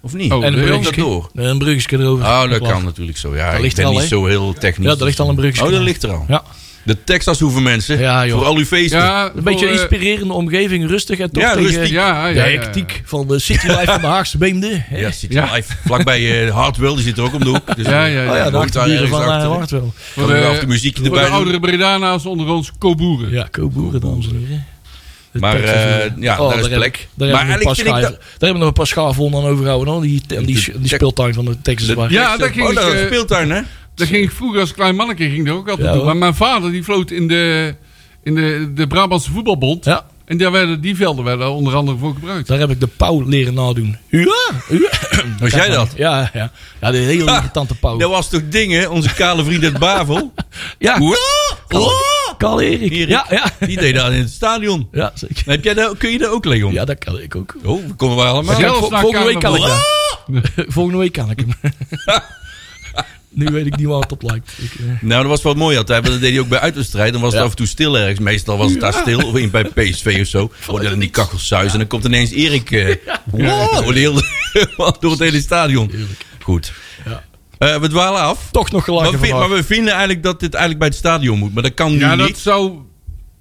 S2: Of niet? en
S3: Oh,
S4: En een
S3: wil
S2: dan
S3: je
S2: dat
S4: bruggetje,
S2: door?
S4: eh, een bruggetje erover.
S2: Oh, dat
S4: Klaar.
S2: kan natuurlijk zo. Ja, ik
S4: ligt
S2: ben
S4: er al,
S2: niet
S4: hè?
S2: zo heel technisch.
S4: Ja, daar ligt al een bruggetje.
S2: Oh, dat ligt er al.
S4: Ja.
S2: De Texas hoeven mensen.
S4: Ja, joh.
S2: voor al uw feesten.
S3: Ja,
S4: Een beetje
S3: voor,
S4: een
S3: eh,
S4: inspirerende omgeving, rustig en toch
S2: Ja,
S4: tegen
S2: rustig.
S3: Ja, ja,
S4: de
S3: ja, ja.
S4: hectiek van de City Life van de
S2: *laughs*
S4: Haagse Beemden. hè.
S2: Ja, zit
S3: Ja.
S2: live. Vlakbij eh, Hartwell, die zit er ook om de hoek. Dus,
S3: Ja,
S2: eh,
S3: ja, ja.
S4: Oh ja, de
S2: Hangt daar
S4: achterburen
S2: ergens
S4: van eh,
S2: achter.
S4: Hartwell.
S3: Voor
S2: Kan
S3: de,
S2: ook nog de muziekje
S3: voor de
S2: erbij doen.
S3: oudere Bredana's onder ons, Koboeren.
S4: Ja, Koboeren, dames en heren. De
S2: Maar,
S4: Texas,
S2: eh,
S4: eh,
S2: ja, daar is
S4: hebben-
S2: plek.
S4: Daar
S2: Maar
S4: hebben we
S2: eigenlijk
S4: nog een paar
S2: vind ik
S4: schaar- daar hebben we nog een paar schaafwonden aan overgehouden. hoor, Die, die, die,
S2: Tech-
S4: speeltuin van de Texas Bar.
S3: Ja, dat ging
S2: Oh, dat
S3: ik,
S2: is
S3: eh,
S2: een speeltuin, hè?
S3: Daar ging ik vroeger als klein manneke ging er ook altijd
S4: Ja,
S3: toe.
S4: hoor.
S3: Maar mijn vader die floot in de, in de, de Brabantse voetbalbond.
S4: Ja,
S3: En daar werden, die velden werden onder andere voor gebruikt.
S4: daar heb ik de pauw leren nadoen. Ja!
S2: Was jij dat?
S4: Ja, ja. Ja, de hele
S2: Ha,
S4: irritante
S2: Dat
S4: pauw.
S2: was toch dingen, onze kale vriend uit Bavel?
S4: Ja,
S2: Oeh, oeh.
S4: Karl Erik.
S2: Erik.
S4: Ja, ja.
S2: Die deed dat in het stadion.
S4: Ja, zeker.
S2: Heb jij dat, kun je dat ook leggen, om?
S4: Ja, dat kan ik ook.
S2: Oh, we komen wij allemaal.
S3: Zelfs
S4: vol-
S3: naar
S4: volgende week kan ik
S3: carnaval.
S4: *laughs* Volgende week kan ik hem. Nu weet ik niet waar het op lijkt. Ik, eh,
S2: Nou, dat was wel mooi altijd, want dat deed hij ook bij uitwedstrijd. Dan was het
S4: Ja.
S2: af en toe stil ergens. Meestal was het daar stil, of in, bij PSV of
S4: *laughs*
S2: zo. Worden dan die kachels zuizen en dan komt ineens Erik eh, wow, door de hele- *laughs* door het hele stadion. Goed.
S4: Ja.
S2: Eh, we dwalen af.
S4: toch nog
S2: Maar,
S4: gelachen
S2: vi- maar
S4: vandaag.
S2: we vinden eigenlijk dat dit eigenlijk bij het stadion moet. Maar dat kan nu
S3: Ja, dat
S2: niet.
S3: zou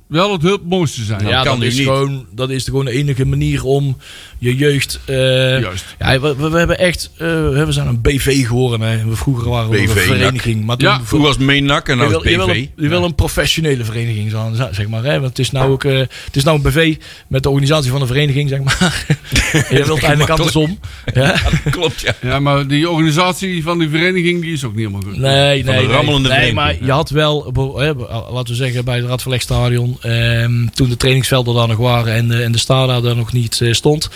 S3: wel het heel mooiste zijn.
S2: Ja,
S4: Ja,
S2: kan
S4: dat,
S2: nu
S4: is
S2: niet.
S4: Gewoon, dat is gewoon de enige manier om je jeugd... eh,
S3: Juist.
S4: ja, we, we- we hebben echt... eh, we zijn een BV geworden. Hè. We vroeger waren we
S2: BV,
S4: een vereniging. Maar toen
S3: Ja,
S2: Vroeger was het Meenak en
S4: je
S2: nou
S4: wil,
S2: is
S4: je wil
S2: PV.
S4: een, je wil een professionele vereniging zijn, zeg maar. Hè? Want het is nou ook eh, het is nou een BV met de organisatie van een vereniging, zeg maar. *laughs* En je wilt eigenlijk andersom. Ja?
S2: *laughs* Klopt, ja.
S3: Ja, maar die organisatie van die vereniging die is ook niet helemaal goed.
S4: Nee,
S2: Van de
S4: nee, nee.
S2: rammelende
S4: nee
S2: vereniging.
S4: maar je had wel, bo- hè, bo- laten we zeggen, bij het Radverlegstadion, ehm, toen de trainingsvelden daar nog waren en de, en de Stara daar nog niet eh, stond,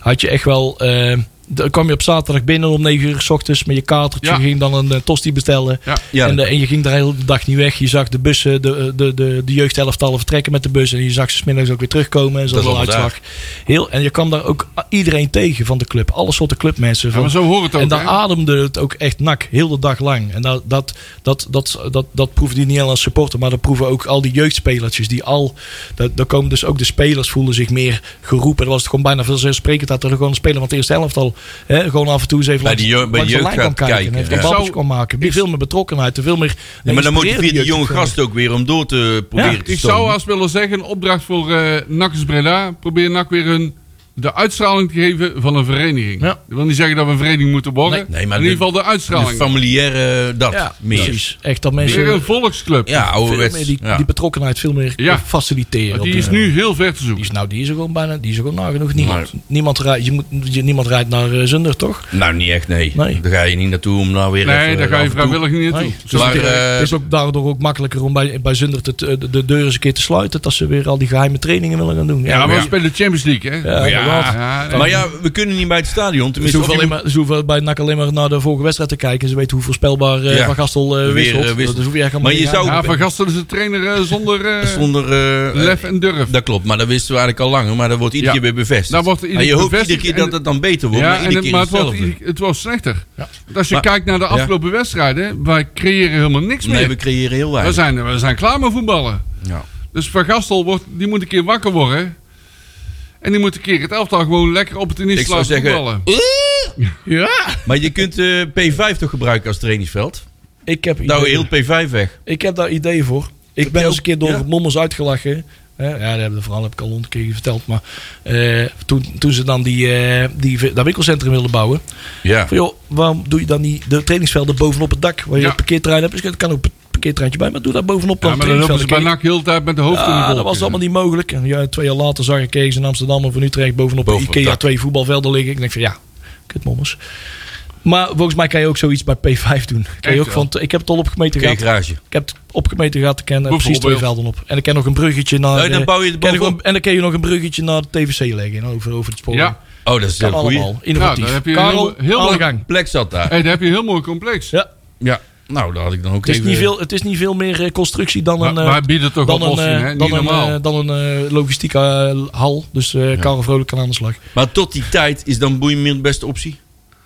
S4: had je echt wel... ehm, dan kwam je op zaterdag binnen om 9 uur s ochtends met je kaartje.
S3: Ja.
S4: Je ging dan een eh, tosti bestellen.
S3: Ja.
S2: Ja,
S4: en, de- en je ging de hele dag niet weg. Je zag de bussen, de, eh, de, de, de jeugdhelftallen vertrekken met de bus. En je zag ze 's middags ook weer terugkomen. En zo
S2: Dat is
S4: wel
S2: allemaal
S4: uitzag. Heel, en je kwam daar ook iedereen tegen van de club. Alle soorten clubmensen.
S3: Ja,
S4: Van,
S3: maar zo hoort het ook.
S4: en daar
S3: hè?
S4: ademde het ook echt nak, heel de dag lang. En dat, dat, dat, dat, dat, dat proefde je niet alleen als supporter, maar dat proeven ook al die jeugdspelertjes. Die al, dat, daar komen dus ook de spelers voelen zich meer geroepen. Dat was het gewoon bijna vanzelfsprekend dat er gewoon een speler van het eerste helft al hè, gewoon af en toe eens even
S2: Bij die
S4: langs-
S2: jeugd- bij
S4: langs
S2: die
S4: de
S2: jeugd
S4: lijn kwam
S2: gaat
S4: kijken. En
S2: kijken,
S4: even
S2: ja.
S4: een babbeltje
S3: Zou-
S4: kwam maken. Veel meer betrokkenheid, en veel meer...
S2: Ja, maar dan motiveert die
S4: inspireerde
S2: jonge
S4: jeugd
S2: gast ook weer om door te proberen te
S3: Ik
S2: stomen.
S3: zou als willen zeggen, een opdracht voor eh Nakkers Breda. Probeer Nak weer hun de uitstraling te geven van een vereniging.
S4: Ja.
S3: Dat wil niet zeggen dat we een vereniging moeten worden.
S2: Nee, nee, maar
S3: in
S2: de-
S3: ieder geval de
S2: De
S3: uitstraling.
S2: familiaire dat
S4: Ja,
S2: meer.
S4: precies. Echt dat mensen
S3: Weer een volksclub.
S2: Ja,
S4: veel
S2: ouderwets.
S4: meer die,
S2: ja.
S4: die betrokkenheid veel meer
S3: Ja.
S4: faciliteren.
S3: Want die
S4: op
S3: is
S4: de-
S3: nu heel ver te zoeken.
S4: Die is, nou, die is er gewoon bijna, die is er gewoon nagenoeg niemand. Niemand, rijdt, je moet, je, niemand rijdt naar eh, Zunder, toch?
S2: Nou, niet echt, nee.
S4: Nee.
S2: Daar ga je niet naartoe om nou weer
S3: nee,
S2: even,
S3: daar ga
S2: af en
S3: je
S2: toe-
S3: vrijwillig niet naartoe.
S4: Dus
S2: Maar,
S4: het,
S2: eh,
S4: het is ook daardoor ook makkelijker om bij, bij Zunder te, te- de, de deur eens een keer te sluiten. Dat ze weer al die geheime trainingen willen gaan doen.
S3: Ja, maar we
S2: ja.
S3: spelen Champions League, hè?
S4: Ja, inderdaad.
S3: ja,
S2: Maar ja, we kunnen niet bij het stadion.
S4: Ze
S2: Tenminste,
S4: hoeven,
S2: of
S4: alleen
S2: je
S4: maar, ze hoeven bij NAC alleen maar naar de vorige wedstrijd te kijken. Ze weten hoe voorspelbaar eh,
S2: Ja.
S4: Van Gastel eh,
S2: Weer,
S4: wisselt.
S2: eh, wisselt.
S4: Dus hoef je echt
S2: Maar
S4: helemaal
S2: je
S4: niet
S2: zou-
S4: aan-
S3: ja, Van Gastel is een trainer eh, zonder eh,
S2: moet zonder... eh,
S3: lef en durf.
S2: Dat klopt, maar dat wisten we eigenlijk al langer. Maar dat wordt iedere
S3: Ja.
S2: keer weer bevestigd.
S3: Dat wordt
S2: En
S3: iedere
S2: je
S3: keer
S2: hoopt iedere
S3: bevestigd
S2: keer
S3: en-
S2: dat het dan beter wordt, maar
S3: Ja, en
S2: iedere
S3: het,
S2: keer
S3: maar het, wordt,
S2: hetzelfde.
S3: iedere- het wordt slechter.
S4: Ja.
S3: Want als je
S2: Maar-
S3: kijkt naar de
S2: ja.
S3: afgelopen wedstrijden, wij creëren helemaal niks
S2: Nee,
S3: meer.
S2: we creëren heel
S3: we,
S2: weinig.
S3: zijn, we zijn klaar met voetballen.
S2: Ja.
S3: Dus Van Gastel wordt, die moet een keer wakker worden. En die moet een keer het elftal gewoon lekker
S2: Ik
S3: opportunistisch
S2: zou
S3: laten
S2: zeggen,
S3: voetballen.
S4: Ja!
S2: Maar je kunt eh, P5 toch gebruiken als trainingsveld?
S4: Ik heb,
S2: Nou,
S4: ideeën.
S2: heel P5 weg.
S4: ik heb daar ideeën voor. Ik ben
S2: je
S4: eens een
S2: ook-
S4: keer door
S2: ja?
S4: mommers uitgelachen. Hè, Ja, dat hebben we vooral heb ik al honderd keer verteld. Maar eh, toen, toen ze dan die, eh, die, dat winkelcentrum wilden bouwen.
S2: Ja.
S4: Van, joh, waarom doe je dan niet de trainingsvelden bovenop het dak? Waar je
S3: Ja.
S4: een parkeerterrein hebt. Dus er kan ook een parkeerterreintje bij. Maar doe dat bovenop dan
S3: Ja, maar dan lopen ze bij
S4: trainingsvelden.
S3: NAC heel de tijd met de hoofd in de
S4: Ja,
S3: bol.
S4: dat was allemaal niet mogelijk. En ja, twee jaar later zag ik eens in Amsterdam of in Utrecht bovenop de
S2: Boven op
S4: Ikea
S2: dak.
S4: twee voetbalvelden liggen. Ik denk van ja, kutmommers. Maar volgens mij kan je ook zoiets bij P5 doen. Kan je ook
S3: wel.
S4: van, ik heb het al opgemeten
S2: Geen
S4: gehad.
S2: garage.
S4: Ik heb het opgemeten gehad. Ik ken er precies twee
S3: Bijvoorbeeld.
S4: velden op. En ik ken nog een bruggetje naar...
S2: Oh, en dan
S4: eh,
S2: bouw je het
S4: ken ik
S2: bovenop.
S4: nog- En dan kun je nog een bruggetje naar de TVC leggen. Over, over het spoor.
S3: Ja.
S2: Oh, dat is
S4: Kan
S2: heel goed.
S4: allemaal. Innovatief.
S3: Nou, dan heb je
S4: Karel,
S3: heel- heel
S4: aan de
S3: wat-
S4: gang.
S2: Plek zat daar.
S3: Hey, dan heb je een heel mooi complex.
S4: Ja.
S2: Ja. Nou, daar had ik dan ook
S4: Het is,
S2: even...
S4: niet veel, het is niet veel meer eh, constructie dan
S3: Maar,
S4: een... eh,
S3: maar bieden toch
S4: dan een,
S3: oplossingen,
S4: eh,
S3: hè? Niet
S4: dan een,
S3: normaal.
S4: eh, dan een eh, logistieke eh, hal. Dus eh Karel Vrolijk kan aan de slag.
S2: Maar tot die tijd is dan Boeimeer de beste optie?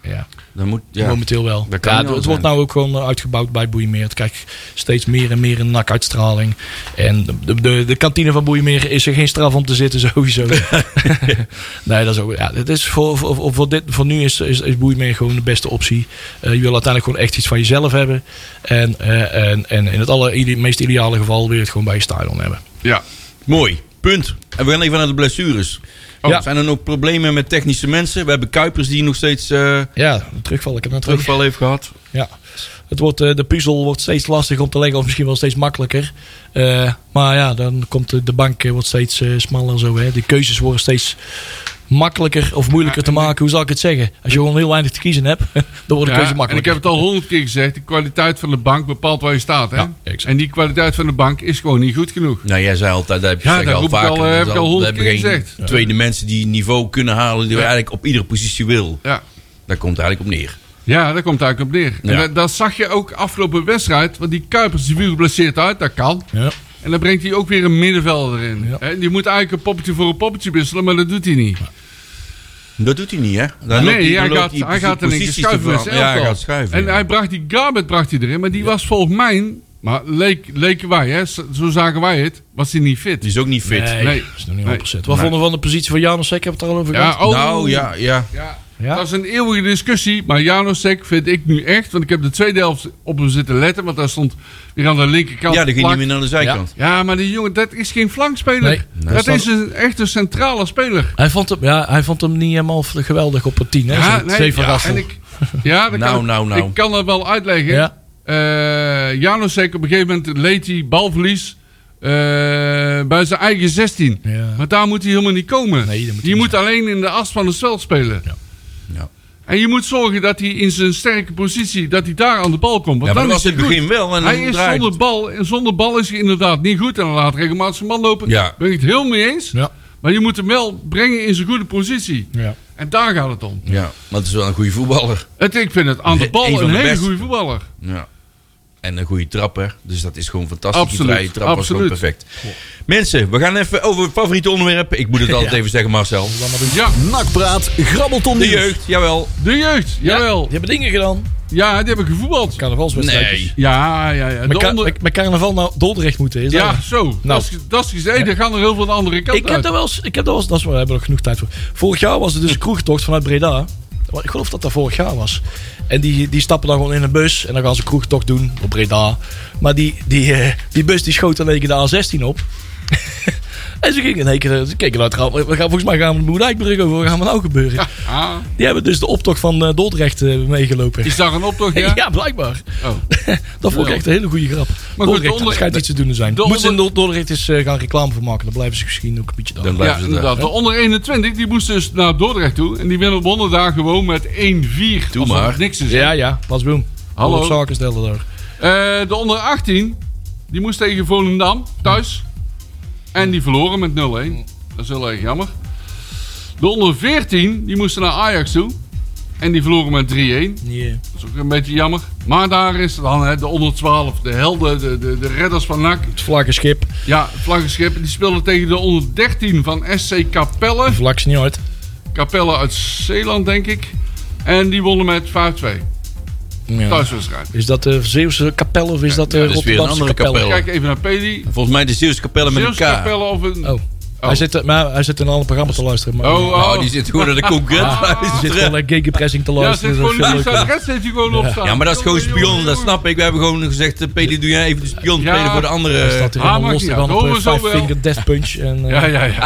S4: Ja.
S2: Dan moet... Ja.
S4: Momenteel wel.
S2: Dat kan
S4: Ja,
S2: niet
S4: het
S2: anders
S4: wordt nou ook gewoon eh, uitgebouwd bij Boeimeer. Het krijgt steeds meer en meer een nakuitstraling. En de, de, de kantine van Boeimeer is er geen straf om te zitten,
S2: *laughs*
S4: *laughs* sowieso. nee, dat is ook. Ja, het is voor, voor, voor, dit, voor nu is, is, is Boeimeer gewoon de beste optie. Eh, je wil uiteindelijk gewoon echt iets van jezelf hebben. En, eh, en, en in het aller, ide- meest ideale geval wil je het gewoon bij je stadion hebben.
S3: Ja.
S2: Mooi. Punt. En we gaan even naar de blessures.
S3: Oh.
S2: Ja. Zijn er nog problemen met technische mensen? We hebben Kuipers die nog steeds eh
S4: Ja, een terugval. Ik heb nou een terugval.
S2: terugval heeft gehad.
S4: Ja. Het wordt, eh, de puzzel wordt steeds lastiger om te leggen, of misschien wel steeds makkelijker. Eh, maar ja, dan komt de, de bank eh, wordt steeds eh, smaller en zo. Hè. De keuzes worden steeds makkelijker of moeilijker te maken. Hoe zal ik het zeggen? Als je gewoon heel weinig te kiezen hebt, *laughs* dan wordt de
S3: Ja,
S4: keuze
S3: en ik
S4: makkelijker.
S3: heb het al honderd keer gezegd. De kwaliteit van de bank bepaalt waar je staat. Hè?
S4: Ja, exact.
S3: en die kwaliteit van de bank is gewoon niet goed genoeg.
S2: Nou, jij zei altijd, dat heb je
S3: Ja,
S2: zeg
S3: dat
S2: al
S3: roep ik
S2: vaker.
S3: al,
S2: Dat
S3: eh,
S2: is
S3: heb ik al honderd
S2: dat
S3: keer
S2: hebben geen
S3: gezegd.
S2: Tweede mensen die niveau kunnen halen, die we eigenlijk op iedere positie wil.
S3: Ja,
S2: Daar komt het eigenlijk op neer.
S3: ja daar komt het eigenlijk op neer. En
S2: Ja.
S3: dat, dat zag je ook afgelopen wedstrijd. Want die Kuipers die viel geblesseerd uit. Dat kan.
S4: Ja.
S3: En dan brengt hij ook weer een middenvelder in.
S4: Ja.
S3: Hè, Die moet eigenlijk een poppetje voor een poppetje wisselen. Maar dat doet hij niet.
S2: Dat doet hij niet, hè? Dan loopt
S3: nee, hij
S2: dan
S3: gaat,
S2: loopt
S3: hij
S2: precies
S3: gaat in één keer
S2: posities te
S3: schuiven met zijn
S2: veranderen. Ja, hij
S3: elftal.
S2: gaat schuiven.
S3: En
S2: ja.
S3: hij bracht die Garbet bracht hij erin. Maar die was volgens mij... Maar leek, leken wij, hè? zo- zo zagen wij het, was hij niet fit.
S2: Die is ook niet fit.
S4: Nee,
S3: Nee.
S4: dat is nog niet
S3: Nee.
S4: 100%. Wat vonden we van de positie van Janus? Ik heb het er al over gehad.
S3: oh.
S2: Nou, ja, ja.
S3: Ja.
S4: Ja?
S3: Dat is een eeuwige discussie. Maar Janosek vind ik nu echt. Want ik heb de tweede helft op hem zitten letten. Want daar stond weer aan de linkerkant.
S2: Ja, dan ging
S3: geplakt.
S2: niet meer naar de zijkant.
S3: Ja, maar die jongen, dat is geen flankspeler.
S4: Nee. Nee.
S3: dat
S4: Staat-
S3: is een, echt een centrale speler.
S4: Hij, vond hem, ja, hij vond hem niet helemaal geweldig op het 10. Hè? Ja,
S3: nee,
S4: Steven
S3: ja,
S4: Rassel.
S3: en
S2: *laughs*
S3: ik, ja, dat
S2: Nou,
S3: kan ik-
S2: nou, nou.
S3: Ik kan dat wel uitleggen.
S4: Ja.
S3: Eh, Janosek op een gegeven moment leed hij balverlies eh, bij zijn eigen 16.
S4: Ja.
S3: Maar daar moet hij helemaal niet komen.
S4: Nee, daar moet hij
S3: je
S4: niet
S3: moet alleen in de as van het veld spelen.
S2: Ja.
S3: En je moet zorgen dat hij in zijn sterke positie, dat hij daar aan de bal komt. Want
S2: Ja, maar
S3: dan
S2: dat was
S3: is
S2: in het begin wel. En
S3: hij is
S2: draait
S3: zonder
S2: het.
S3: bal. En zonder bal is hij inderdaad niet goed. En hij laat regelmatig zijn man lopen.
S2: Ja.
S3: Ben ik het heel mee eens.
S4: Ja.
S3: Maar je moet hem wel brengen in zijn goede positie.
S4: Ja.
S3: En daar gaat het om.
S2: Ja, maar het is wel een goede voetballer.
S3: Het, ik vind het aan de
S2: Een
S3: bal
S2: van
S3: een
S2: de
S3: hele
S2: beste.
S3: goede voetballer.
S2: Ja. En een goede trapper. Dus dat is gewoon fantastisch.
S3: Absoluut,
S2: Die vrije trap was gewoon
S3: absoluut.
S2: perfect. Mensen, we gaan even over het favoriete onderwerp. Ik moet
S4: *laughs*
S2: het altijd even zeggen, Marcel.
S3: Ja,
S1: Nakpraat, grabbelton
S2: De
S1: nieuws.
S2: jeugd, jawel.
S3: de jeugd. Jawel.
S4: Die hebben dingen gedaan.
S3: Ja, die hebben gevoetbald.
S4: Carnavalswedstrijdjes.
S2: Nee.
S3: Ja, ja, ja. De
S4: Met, ka-
S3: onder-
S4: met- met carnaval naar Dordrecht moeten. Is dat
S3: Ja,
S4: het?
S3: zo.
S2: Nou.
S3: Dat is, dat is gezegd. Er gaan er heel veel de andere kant
S4: Ik heb
S3: uit.
S4: daar wel eens, ik heb daar wel eens, dat is waar, we hebben nog genoeg tijd voor. Vorig jaar was er dus een kroegtocht vanuit Breda. Ik geloof dat dat vorig jaar was. En die, die stappen dan gewoon in een bus en dan gaan ze een kroegtocht doen op Breda. Maar die, die, eh, die bus die schoot dan in één keer de A16 op. *laughs* En ze gingen in één keer, ze keken uit, we gaan, volgens mij gaan we de Moerdijkbrug over, wat gaan we nou gebeuren?
S3: Ah,
S4: Die hebben dus de optocht van eh, Dordrecht eh, meegelopen.
S3: is daar een optocht?
S4: *laughs* Ja,
S2: *laughs*
S3: Ja.
S4: blijkbaar.
S3: Oh.
S4: Dat vond ik
S3: Ja.
S4: echt een hele goede grap.
S3: goed,
S4: Dordrecht,
S3: Dordrecht-
S4: dat schijnt iets te doen te zijn.
S3: Dordrecht-
S4: Moeten ze in Dor- Dordrecht eens eh, gaan reclame voor maken. Dan blijven ze misschien ook een beetje
S2: Dan
S4: dan.
S2: blijven
S3: Ja,
S2: ze daar.
S3: inderdaad. De onder 21 die moest dus naar Dordrecht toe. En die winnen- wonnen daar gewoon met 1-4. Alsof
S2: maar.
S3: het Niks is.
S4: Ja, ja, Bas Boom.
S3: Hallo.
S4: Op zaken stellen daar.
S3: Eh, de onder 18 die moest tegen Volendam thuis. En die verloren met 0-1. Dat is heel erg jammer. De onder 14 die moesten naar Ajax toe. En die verloren met 3-1.
S4: Yeah.
S3: Dat is ook een beetje jammer. Maar daar is dan hè, de onder 12, de helden, de, de, de redders van NAC.
S4: Het vlaggenschip.
S3: Ja, vlaggenschip. Die speelden tegen de onder 13 van SC Capelle.
S4: Vlak is niet uit.
S3: Capelle uit Zeeland, denk ik. En die wonnen met 5-2.
S4: Ja.
S3: Thuiswedstrijd.
S4: Is dat de Zeeuwse kapel of is dat de
S2: dat is weer een
S4: Rotterdamse
S2: andere
S4: kapel?
S2: kapel.
S3: Kijk even naar Peli.
S2: Volgens mij de Zeeuwse Capelle met
S3: Zeeuws
S2: elkaar.
S3: Capelle of een...
S4: Oh. Hij, zit, maar hij zit in een ander programma te luisteren. Maar
S3: Oh,
S2: Nou, die zit gewoon naar de concurrent. *laughs*
S4: Hij Ah, zit gewoon naar gegenpressing te
S3: Ja,
S4: luisteren. dus
S3: zit gewoon
S4: dat is eh, veel
S3: links
S4: leuker.
S3: uit rechts heeft hij gewoon op staan.
S2: Ja, maar dat is gewoon spion, dat snap ik. We hebben gewoon gezegd, eh, Pedi, doe jij even de spion
S3: Ja.
S2: spelen voor de
S4: Hij
S2: andere.
S4: eh, staat er
S3: Ah,
S4: helemaal
S3: maakt
S4: los
S3: niet
S4: te gaan
S3: uit.
S4: op
S3: Horen
S4: een
S3: we zo
S4: five
S3: wel.
S4: finger death punch. En, eh,
S3: Ja, ja,
S2: *laughs*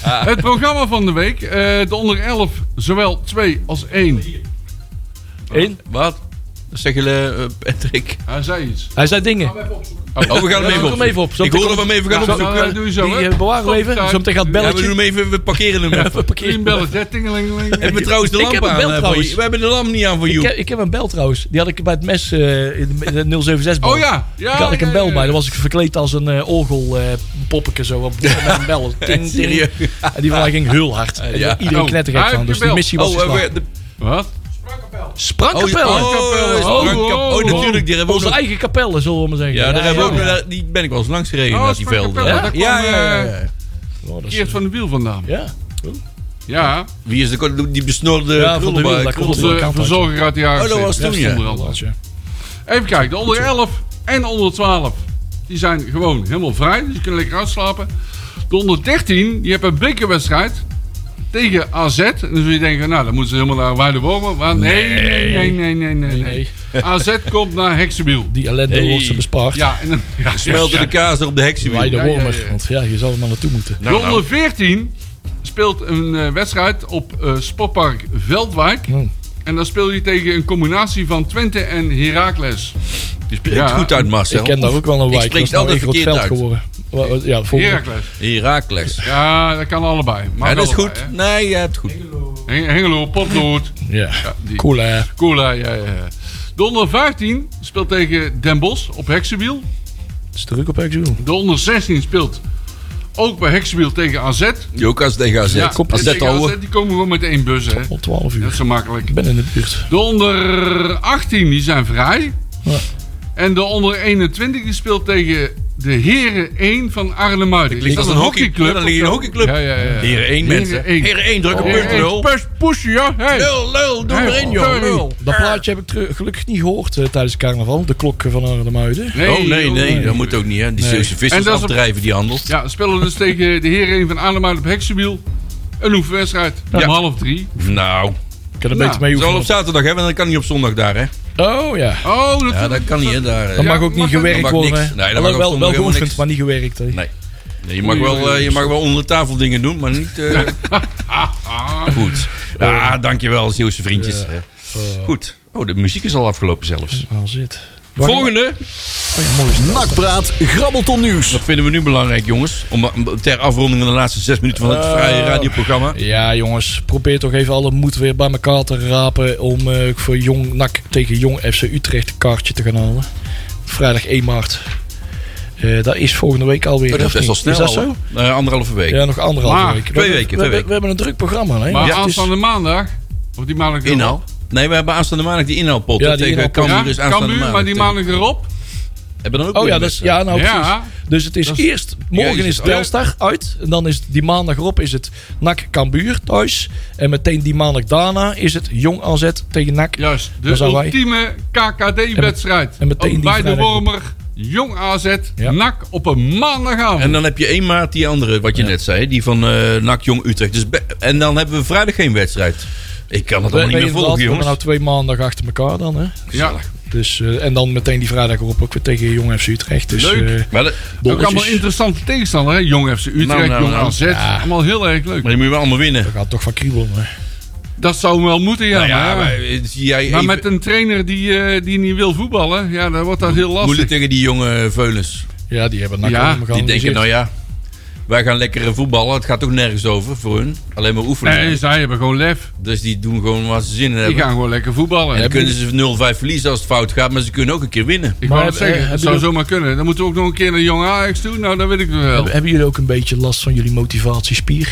S3: ja. Het programma van de week. eh, de onder 11, zowel 2 als 1.
S4: één.
S2: Wat? Dat zeg je, eh, Patrick.
S3: Hij zei iets.
S4: Hij zei dingen.
S2: Oh, we gaan hem
S4: Ja,
S2: even
S4: zoek
S2: op.
S4: hem even op. Zo
S2: Ik hoor dat we
S4: meteen
S2: hem even gaan
S3: Zo,
S2: opzoeken.
S3: eh, doe je zo,
S4: Die
S3: hè.
S4: eh, bewaren we even. Zometeen gaat het
S2: Ja, we
S4: belletje.
S2: doen hem even, we parkeren hem even.
S3: Clean
S4: Parkeer.
S3: belletje, tingelingeling.
S2: Hebben we trouwens de
S4: Ik
S2: lamp
S4: heb hem
S2: aan?
S4: wel
S2: eh,
S4: trouwens.
S2: voor je? we hebben de lamp niet aan voor
S4: Ik
S2: jou.
S4: heb, ik heb een bel trouwens. Die had ik bij het mes eh, in de- in de 076 bel.
S3: Oh ja. ja
S4: Daar had ik
S3: ja,
S4: een bel
S3: ja,
S4: bij.
S3: ja.
S4: Daar was ik verkleed als een eh orgel eh, poppetje zo. Op, met
S3: *laughs*
S4: een bel. Ting, ting.
S2: Serieus?
S4: En die van mij ging heel hard. En
S2: Ja.
S4: Iedereen
S3: Oh,
S4: knettergek
S3: hij
S4: van.
S3: heeft
S4: Dus die
S3: gebeld.
S4: missie was
S2: Oh, eh,
S4: geslaagd.
S2: we- de-
S3: Wat?
S2: oh,
S4: Sprangkapel.
S2: oh, eh,
S3: Oh,
S2: Frank Kap-
S3: oh,
S2: Oh,
S3: oh.
S2: natuurlijk, die hebben we
S4: Onze
S2: ook nog-
S4: eigen kapellen, zullen we maar zeggen.
S2: Ja, daar hebben we ook
S4: ja.
S2: nog- die ben ik wel eens langs gereden,
S3: Oh,
S2: naar die
S3: Frank
S2: velden.
S3: Capelle,
S2: Ja, ja,
S3: daar kwam,
S2: ja.
S3: eh,
S2: ja.
S4: Oh, dat is-
S3: Keert van de Wiel vandaan.
S4: Ja.
S3: Ja,
S2: Wie is de, die besnorde
S4: Ja, van de
S2: krullenba-
S4: wiel, daar komt
S2: krullenba-
S4: het
S3: onze verzorger uit de jaren
S2: Oh, dat was
S3: 70.
S2: toen,
S3: Daar
S2: ja.
S3: stond er al. Even kijken, de onder 11 en de onder 12. Die zijn gewoon helemaal vrij, dus die kunnen lekker uitslapen. De onder 13, die hebben een bekerwedstrijd tegen AZ. En dan zul je denken, nou, dan moeten ze helemaal naar Weidewormen. Maar nee, nee, nee, nee, nee, nee. nee.
S2: *laughs*
S3: AZ komt naar Heksenwiel.
S4: Die ellende
S2: Hey.
S4: wordt ze bespaard.
S3: Ja, en dan... Ja,
S2: Smelten de kaas er op de
S4: Bij
S2: heksenwiel.
S4: de
S3: Ja, ja,
S4: Wormer.
S3: ja.
S4: Want ja, je zal er maar naartoe moeten.
S2: Nou,
S3: De onder 14 speelt een eh, wedstrijd op eh, Sportpark Veldwijk.
S4: Hmm.
S3: En dan speel je tegen een combinatie van Twente en Heracles.
S2: Je spreekt
S3: Ja.
S2: goed uit, Marcel.
S4: Ik ken daar ook wel een wijk.
S2: spreek het
S4: dat is nou
S2: altijd
S4: een groot
S2: verkeerd
S4: veld
S2: uit.
S4: geworden. Wa- wa- Ja, volgende.
S3: Heracles.
S2: Herakles.
S3: Ja, dat kan allebei. Maar
S2: Ja, dat is goed. Nee, je hebt goed.
S3: Hengelo, Potlood.
S4: Ja.
S3: Ja, die-
S4: Cool hè.
S3: Cool, hè? ja, ja, ja. De onder 15 speelt tegen Den Bosch op Heksenwiel.
S4: Is het druk op Exxon?
S3: De onder 16 speelt ook bij Heksenwiel tegen AZ.
S2: Jokas tegen AZ.
S3: Ja,
S2: AZ
S3: tegen
S2: ouwe.
S3: AZ, die komen gewoon met één bus, hè.
S4: Om 12
S3: Dat is
S4: uur.
S3: zo makkelijk.
S4: Ik ben in de buurt.
S3: De onder 18 die zijn vrij.
S4: Ja.
S3: En de onder 21 die speelt tegen de Heren 1 van Arnhemuiden.
S2: klinkt als een hockeyclub.
S3: Dan
S2: Dan lig je in een hockeyclub.
S3: Ja, ja, ja.
S2: Heren 1
S3: Heren
S2: mensen.
S3: één.
S2: Heren 1, druk op
S3: Heren
S2: punt
S3: één.
S2: nul.
S3: Push, push, ja. Hey.
S2: Lul, lul, doe
S3: Hey,
S2: erin, joh.
S3: sorry.
S2: Lul.
S4: Dat plaatje heb ik teru- gelukkig niet gehoord eh, tijdens carnaval. De klok van Arnhemuiden.
S3: Nee,
S2: oh nee,
S3: oh,
S2: nee, dat moet ook niet, hè? Die Zeeuwse
S3: En
S2: vissers
S3: dat is een-
S2: afdrijven die handel.
S3: Ja, we spelen dus tegen de Heren 1 van Arnhemuiden op Heksenwiel. Een oefenwedstrijd om
S2: Ja.
S3: half drie.
S2: Nou,
S4: Ik kan er
S3: Nou,
S4: beter mee
S2: het is wel op
S4: hoeven.
S2: zaterdag hebben, dat kan niet op zondag daar, hè?
S4: Oh ja.
S3: Oh, dat,
S2: Ja, dat kan niet, hè? Daar, eh.
S4: Dan
S3: Ja,
S4: mag ook niet
S3: mag dat-
S2: dat
S4: gewerkt
S2: mag niks.
S4: worden.
S2: Nee, dat mag
S4: Alhoewel,
S2: op zondag
S4: wel
S2: helemaal
S4: geoefend,
S2: niks.
S4: maar niet gewerkt. hè.
S2: Nee. Nee, je, mag wel, eh, je mag wel onder de tafel dingen doen, maar niet. eh,
S4: *laughs*
S2: Goed. Ah, dankjewel, Zeeuwse vriendjes. Goed. Oh, de muziek is al afgelopen zelfs.
S4: Waar zit?
S2: Volgende.
S4: Oh,
S1: Nakpraat, grabbelton nieuws.
S2: Wat vinden we nu belangrijk, jongens? Om, om- ter afronding van de laatste zes minuten van het
S4: Eh,
S2: vrije radioprogramma.
S4: Ja, jongens, probeer toch even alle moed weer bij elkaar te rapen om eh, voor Jong NAC tegen Jong FC Utrecht een kaartje te gaan halen. Vrijdag 1 maart. Eh, dat is volgende week alweer.
S2: Oh, Dat
S4: of
S2: is
S4: niet?
S2: al snel.
S4: Is dat
S2: al,
S4: zo?
S2: hè? Eh, anderhalve week.
S4: Ja, nog anderhalve
S3: Maar,
S4: week. We
S2: twee
S4: hebben-
S2: weken,
S4: we,
S2: twee
S4: hebben- we hebben een druk programma, hè?
S3: Maar
S4: Want het is-
S3: aanstaande maandag, of die maandag erop.
S2: Inhaal. Nee, we hebben aanstaande maandag die inhaalpot.
S4: Ja,
S2: hè,
S4: die
S2: tegen
S4: inhaalpot.
S2: Cambuur
S3: Ja,
S2: is dus aanstaande
S3: Cambuur, maar die
S2: tegen-
S3: maandag erop.
S2: Hebben dan ook
S4: Oh
S2: weer
S4: ja, dat is,
S2: mensen.
S4: ja nou precies.
S3: Ja.
S4: Dus het is
S3: Dat is-
S4: eerst, morgen
S2: Jezus,
S4: is
S2: oh.
S4: Telstar uit. En dan is die maandag erop is het NAC Cambuur thuis. En meteen die maandag daarna is het Jong AZ tegen NAC.
S3: Juist,
S4: Daar
S3: de
S4: zijn wij.
S3: ultieme KKD-wedstrijd.
S4: en meteen die
S3: Bij de
S4: vrijdag.
S3: Wormer, Jong AZ,
S4: Ja.
S3: NAC op een maandagavond.
S2: En dan heb je 1 maart die andere, wat je net zei, die van eh NAC Jong Utrecht. Dus be- en dan hebben we vrijdag geen wedstrijd. Ik kan het allemaal
S4: We, we,
S2: niet meer
S4: inderdaad, we
S2: volgen,
S4: hebben
S2: jongens.
S4: nou twee maandag achter elkaar dan, hè?
S3: ja.
S4: Dus, eh, en dan meteen die vrijdag erop ook weer tegen Jong FC Utrecht. Dus,
S3: Leuk.
S4: eh,
S2: Maar, dat-
S3: Ook
S4: bolletjes.
S3: allemaal interessante tegenstander, hè? Jong FC Utrecht,
S2: Nou, nou,
S3: Jong
S2: nou.
S3: AZ. Allemaal heel erg leuk.
S2: maar die moet je wel allemaal winnen.
S4: Dat gaat toch van kriebelen. Maar.
S3: Dat zou wel moeten, ja.
S2: Nou ja,
S3: maar,
S2: maar, eh, zie jij
S3: maar
S2: even-
S3: met een trainer die, eh, die niet wil voetballen, ja, dan wordt dat heel lastig.
S2: moeilijk tegen die jonge veulens.
S4: Ja, die hebben NAC
S3: Ja,
S4: allemaal
S2: Die denken,
S4: geanalyseerd.
S2: nou ja, wij gaan lekker eh, voetballen. Het gaat ook nergens over voor hun. Alleen maar oefenen.
S3: Nee, zij hebben gewoon lef.
S2: Dus die doen gewoon wat ze zin in
S3: Die
S2: hebben.
S3: gaan gewoon lekker voetballen.
S2: En dan
S3: Ik
S2: kunnen ze 0-5 verliezen als het fout gaat. Maar ze kunnen ook een keer winnen.
S3: wou
S4: Maar
S3: het
S4: heb-
S3: zeggen, het
S4: eh, hebben
S3: zou
S4: jullie-
S3: zomaar kunnen. Dan moeten we ook nog een keer naar Jong Ajax toe. Nou, dat weet ik wel.
S4: Hebben- Hebben jullie ook een beetje last van jullie motivatiespier?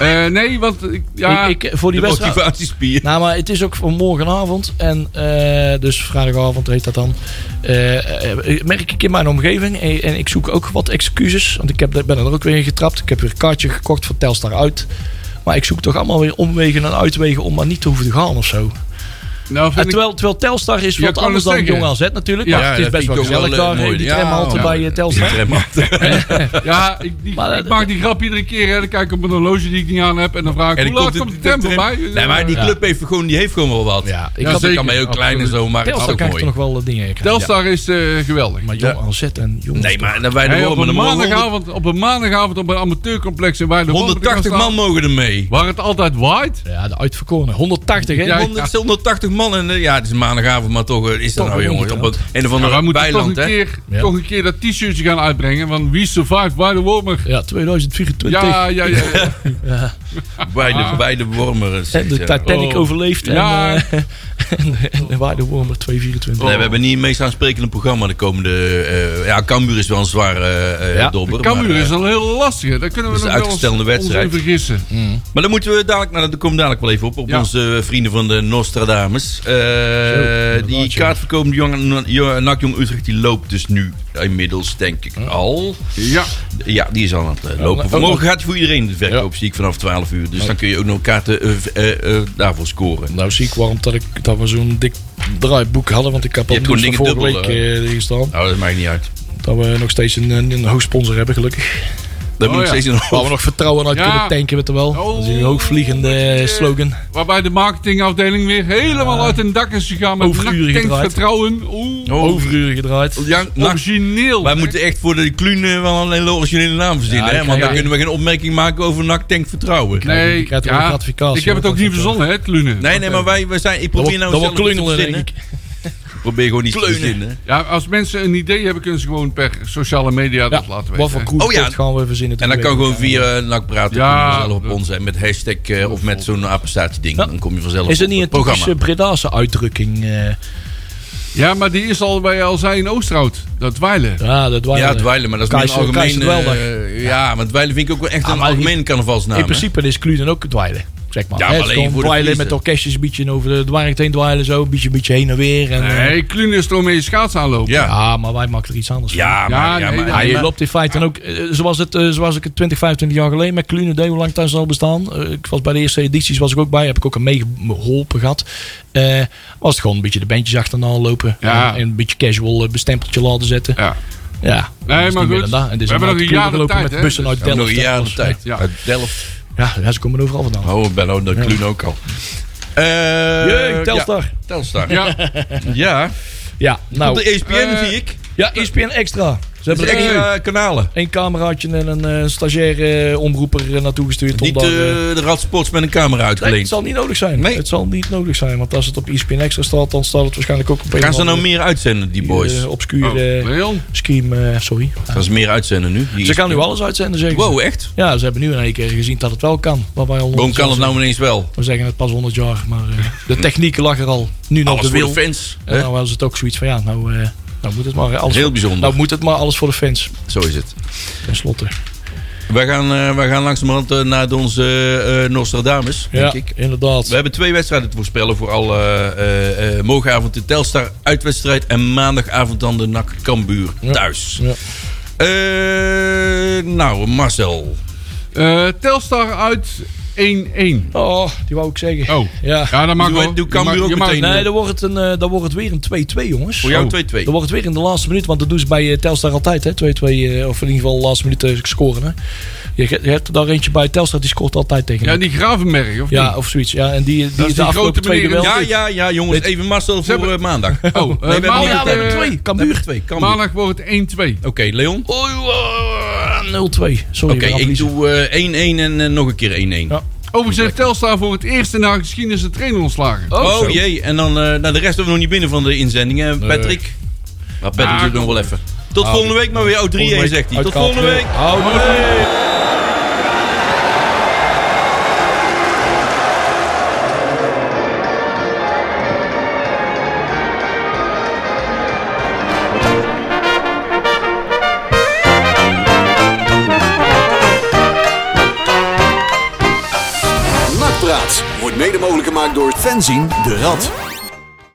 S3: Eh, nee, want ik, ja,
S4: ik, ik, voor die
S2: De
S4: wedstrijd.
S2: motivatiespier.
S4: Nou, maar het is ook voor morgenavond. En eh, dus vrijdagavond heet dat dan. Eh, eh, merk ik in mijn omgeving. En, en ik zoek ook wat excuses. Want ik heb, ben er ook weer in getrapt. Ik heb weer een kaartje gekocht voor Telstar uit. Maar ik zoek toch allemaal weer omwegen en uitwegen om maar niet te hoeven te gaan of zo.
S3: nou
S4: En
S3: vind ik,
S4: terwijl, terwijl Telstar is
S3: Ja,
S4: wat
S3: kan
S4: anders
S3: het
S4: dan
S3: zeggen.
S4: Jong AZ natuurlijk.
S3: Ja,
S4: maar het is
S2: dat
S4: best
S2: vind
S4: wel
S2: ik toch
S4: gezellig
S2: wel, eh,
S4: daar in
S2: mooi.
S4: die
S2: Ja,
S4: tramhalte
S2: ja.
S4: bij eh, Telstar.
S3: ja, ik, die-
S4: Maar, eh,
S3: ik maak die grap iedere keer. Hè. Dan kijk ik op een horloge die ik niet aan heb. En dan vraag ik,
S2: En dan
S3: hoe laat komt de tram voorbij?
S2: Nee, maar die
S4: Ja.
S2: club heeft gewoon, die heeft gewoon wel wat.
S4: Ja, ik
S2: ik had
S4: had-
S2: het
S3: zeker.
S2: kan mij heel klein en
S3: Absoluut.
S2: zo, maar het is
S4: Telstar
S2: ook
S4: krijgt er
S2: mooi.
S4: nog wel eh, dingen in.
S3: Telstar is eh, geweldig.
S4: Maar Jong AZ en Jong
S2: Nee, maar dan wij
S3: Hey,
S2: de
S3: op, een
S2: Wormen, dan mogen honderd-
S3: maandagavond, op een maandagavond op een amateurcomplex in Weidewormer...
S2: 180 man mogen er mee.
S3: Waar het altijd waait.
S4: Ja, de uitverkoren. 180 hè?
S3: Ja,
S2: 100 180 man en eh, ja, het is maandagavond, maar toch eh, is dat
S4: Toch
S2: nou
S4: wel
S2: jongens op een,
S4: onderkant.
S2: een of
S3: Nou, wij
S2: andere
S3: moeten toch een,
S2: bijland hè.
S3: keer,
S4: Ja.
S3: toch een keer dat t-shirtje gaan uitbrengen. Van Wie Survived Weidewormer.
S4: Ja, 2024.
S3: Ja, ja, ja.
S2: *laughs*
S3: ja.
S2: Bij
S3: Ah.
S2: de, bij de Wormer. eh,
S4: En de Titanic
S3: Oh.
S4: overleeft. En,
S3: Ja.
S4: eh, *laughs* en, en waar de Warmer 224.
S2: Nee, we hebben niet het meest aansprekende programma de komende... eh ja, Cambuur is wel een zwaar eh, eh,
S4: Ja,
S2: dobber.
S3: Cambuur
S2: maar, eh,
S3: is al heel lastig. Daar kunnen we
S2: dat is een
S3: nog wel
S2: uitgestelde
S3: ons-
S2: wedstrijd.
S3: ons in vergissen.
S2: Maar dan moeten we dadelijk, nou, dat komt dadelijk wel even op, op
S3: Ja.
S2: onze eh, vrienden van de Nostradamus. Eh, die
S4: inderdaad, ja.
S2: kaartverkoop Jong- Jong- NAC Jong Utrecht, die loopt dus nu inmiddels, denk ik, al.
S3: Ja,
S2: Ja, die is al aan het eh, lopen.
S4: Oh,
S2: Vanmorgen gaat hij voor iedereen de verkoop, zie ik, vanaf 12 uur. Dus dan kun je ook nog kaarten eh, v- eh, eh, daarvoor scoren.
S4: Nou zie ik waarom dat, ik, dat we zo'n dik draaiboek hadden. Want ik heb al
S2: Je hebt
S4: nieuws van
S2: gewoon
S4: vorige
S2: dingen
S4: week eh, erin staan.
S2: Nou, dat maakt niet uit.
S4: Dat we nog steeds een, een, een hoogsponsor hebben, gelukkig.
S2: Dat
S3: Oh,
S2: moet ik
S3: ja.
S2: steeds een
S4: Waar we nog vertrouwen uit
S3: Ja.
S4: kunnen tanken, weet je
S2: Oh.
S4: wel. Dat is een hoogvliegende eh, slogan.
S3: waarbij de marketingafdeling weer helemaal
S2: Ah.
S3: uit hun dak is gegaan. Met
S4: Overuren
S3: naktank
S4: gedraaid.
S3: vertrouwen. Oeh,
S2: Oh.
S4: Overuren gedraaid.
S2: Ja, nou,
S3: origineel.
S2: wij moeten echt voor de Kluun eh, wel alleen een originele naam verzinnen.
S4: Ja,
S2: hè?
S4: ik
S2: Want dan
S4: krijg-
S2: kunnen we geen opmerking maken over NAC Tank Vertrouwen. Nee,
S3: Nee,
S4: Je krijgt er
S3: ja,
S4: wel een gratificatie,
S3: ik heb het
S4: hoor,
S3: ook
S4: dat
S3: niet
S4: is ook,
S3: verzonnen, hè, Lune.
S2: nee, maar wij, wij zijn, ik
S4: Dat
S2: probeer nou
S4: wordt- dat wordt
S2: zelf iets te
S4: klungelen, denk
S2: verzinnen.
S4: ik.
S2: Probeer gewoon iets te verzinnen.
S3: Ja, als mensen een idee hebben, kunnen ze gewoon per sociale media dat laten weten.
S4: Wat voor
S3: hè.
S4: koers
S2: Oh ja.
S4: gaan we verzinnen?
S2: En dan kan
S4: Toen
S2: gewoon via eh, NAC praten.
S3: Ja.
S2: kom je vanzelf op ons. En met hashtag eh, of met zo'n apostaatje ding.
S4: Ja.
S2: Dan kom je vanzelf
S4: Is
S2: op
S4: het niet een
S2: het programma.
S4: typische Bredase uitdrukking? eh?
S3: Ja, maar die is al bij al zij in Oosterhout. Dat weilen.
S4: ja, dat waren
S2: Ja, Dweilen, maar dat is niet
S4: Keizer-
S2: een algemeen...
S4: Keizer Dwelder.
S2: eh, ja, maar Dweilen vind ik ook wel echt
S4: Ah,
S2: een
S4: maar
S2: algemene carnavalsnaam.
S4: In
S2: hè?
S4: principe is Cluden ook dweilen. Zeg maar.
S2: Ja,
S4: Hè,
S2: maar
S4: het is
S2: alleen
S4: gewoon
S2: voor de
S4: dweilen
S2: prijzen.
S4: met orkestjes, een beetje over de dwaring heen dweilen, zo. Een beetje, een beetje heen en weer. En, eh,
S3: Nee, Kluun is toch mee schaats aanlopen.
S2: Ja.
S4: ja, maar wij maken er iets anders van.
S2: Ja, maar...
S3: Ja,
S2: Ja,
S3: nee,
S2: maar,
S3: dat-
S4: Ja, je
S2: maar-
S4: loopt in feite en ook, eh, zoals, het, eh, zoals ik het 20, 25 jaar geleden met Clune deed, hoe lang thuis al bestaan. Eh, ik was bij de eerste edities was ik ook bij, heb ik ook aan meegeholpen gehad. Eh, was het gewoon een beetje de bandjes achterna lopen.
S3: Ja.
S4: En een beetje casual eh, bestempeltje laten zetten.
S3: Ja.
S4: Ja. Dus
S3: Nee,
S4: dat is
S3: maar
S4: niet meer
S3: goed.
S4: dan dat. En het is
S3: We hebben
S4: allemaal
S3: nog een
S4: Clune
S3: jaar de
S4: gelopen
S3: tijd,
S4: met
S3: hè,
S4: bussen
S3: dus-
S4: uit
S2: Ja,
S4: Delft.
S2: nog een jaar de
S4: Dat was-
S2: tijd.
S3: Ja.
S2: Uit Delft.
S4: Ja, ja, ze komen overal vandaan.
S2: Oh, ik ben ook de Kluun ook al. Eh
S4: Jee, Telstar.
S2: Ja, Telstar. Ja. *laughs*
S3: Ja,
S4: Ja,
S2: Op
S4: nou.
S2: de E ESPN
S3: Eh,
S2: zie ik.
S4: Ja, E ESPN Extra. Ze
S2: Dat
S4: hebben
S2: is
S4: er
S2: echt
S4: één-
S2: eh, kanalen.
S4: één cameraatje en een eh, stagiair eh, omroeper eh, naartoe gestuurd.
S2: Niet
S4: om daar, eh,
S2: eh, de Radsports met een camera
S4: nee, het
S2: uitgeleend.
S4: zal niet nodig zijn.
S2: Nee.
S4: Het zal niet nodig zijn, want als het op E ESPN Extra staat, dan staat het waarschijnlijk ook op een
S2: Gaan ze
S4: of
S2: nou
S4: andere,
S2: meer uitzenden, die boys?
S4: eh,
S3: Oh,
S4: obscure eh,
S3: Leon.
S4: scheme, eh, sorry.
S2: Gaan ze meer uitzenden nu? Die
S4: Ze gaan nu
S2: ESPN?
S4: alles uitzenden, zeggen ze.
S2: Wow, echt?
S4: Ja, ze hebben nu in één keer gezien dat het wel kan. Waar wij al
S2: Waarom kan het
S4: honderd jaar
S2: nou ineens wel?
S4: zijn. We zeggen het pas 100 jaar, maar eh, de techniek lag er al. Nu nog
S2: Alles
S4: de
S2: voor
S4: wil.
S2: de fans.
S4: En
S2: hè?
S4: nou was het ook zoiets van, ja, nou, eh, nou moet het maar eh, alles
S2: Heel
S4: voor-
S2: bijzonder.
S4: Nou moet het maar alles voor de fans,
S2: Zo is het.
S4: tenslotte.
S2: Wij gaan, eh wij gaan langzamerhand eh, naar onze eh, eh, Nostradamus,
S4: Ja,
S2: denk ik.
S4: inderdaad.
S2: We hebben twee wedstrijden te voorspellen voor alle eh, eh, morgenavond de Telstar uitwedstrijd en maandagavond dan de NAC Cambuur
S4: Ja.
S2: thuis.
S4: Ja.
S2: Eh, nou, Marcel.
S3: Eh, Telstar uit 1-0 1-1.
S4: Oh, die wou ik zeggen.
S3: Oh,
S4: Ja.
S3: ja, dat mag
S2: Doe-
S3: wel.
S2: doe
S3: Je
S2: Cambuur
S3: mag-
S2: ook
S3: je mag-
S2: meteen.
S4: Nee, dan wordt, het een, eh, dan wordt het weer een 2-2, jongens.
S2: Voor jou
S3: Oh.
S2: 2-2.
S4: Dan wordt het weer in de laatste minuut, want dat doen ze bij eh, Telstar altijd, hè? 2-2, eh, of in ieder geval de laatste minuut eh, scoren. Hè? Je, je hebt er daar eentje bij Telstar, die scoort altijd tegen.
S3: Ja,
S4: hem.
S3: die Gravenberg, of
S4: ja
S3: niet?
S4: of zoiets. Ja, en die, die,
S3: is
S4: is de
S3: die grote
S4: afgelopen twee
S3: meneer in
S4: duels.
S2: Ja, ja, ja, jongens. Even Marcel voor
S3: hebben-
S2: eh,
S4: *laughs*
S2: maandag.
S3: Oh, eh,
S2: hebben
S3: maandag,
S2: niet-
S4: ja, we hebben
S3: eh,
S4: twee.
S2: We hebben
S4: Cambuur.
S2: twee. Cambuur.
S3: Maandag wordt het 1-2.
S2: Oké, Leon. Oké,
S4: Oei, oeh, 0-2. Ah, Sorry, we gaan
S2: ik
S4: verliezen.
S2: doe eh, 1-1 en eh, nog een keer 1-1.
S4: Ja.
S3: Overigens heeft Telstar voor het eerst in haar geschiedenis de trainer ontslagen.
S2: Oh,
S4: zo.
S2: jee. En dan, eh, nou, de rest hebben we nog niet binnen van de inzending, hè, Patrick. Maar Patrick
S3: Ah,
S2: doet nog wel even. Tot volgende week, maar weer. Oh, 3-1
S4: Ah. Volgende week
S2: zegt hij. Tot
S4: uitkaalt
S2: volgende
S4: weer.
S2: week.
S4: Houden we.
S1: Nakpraat wordt mede mogelijk gemaakt door Fenzin de Rad.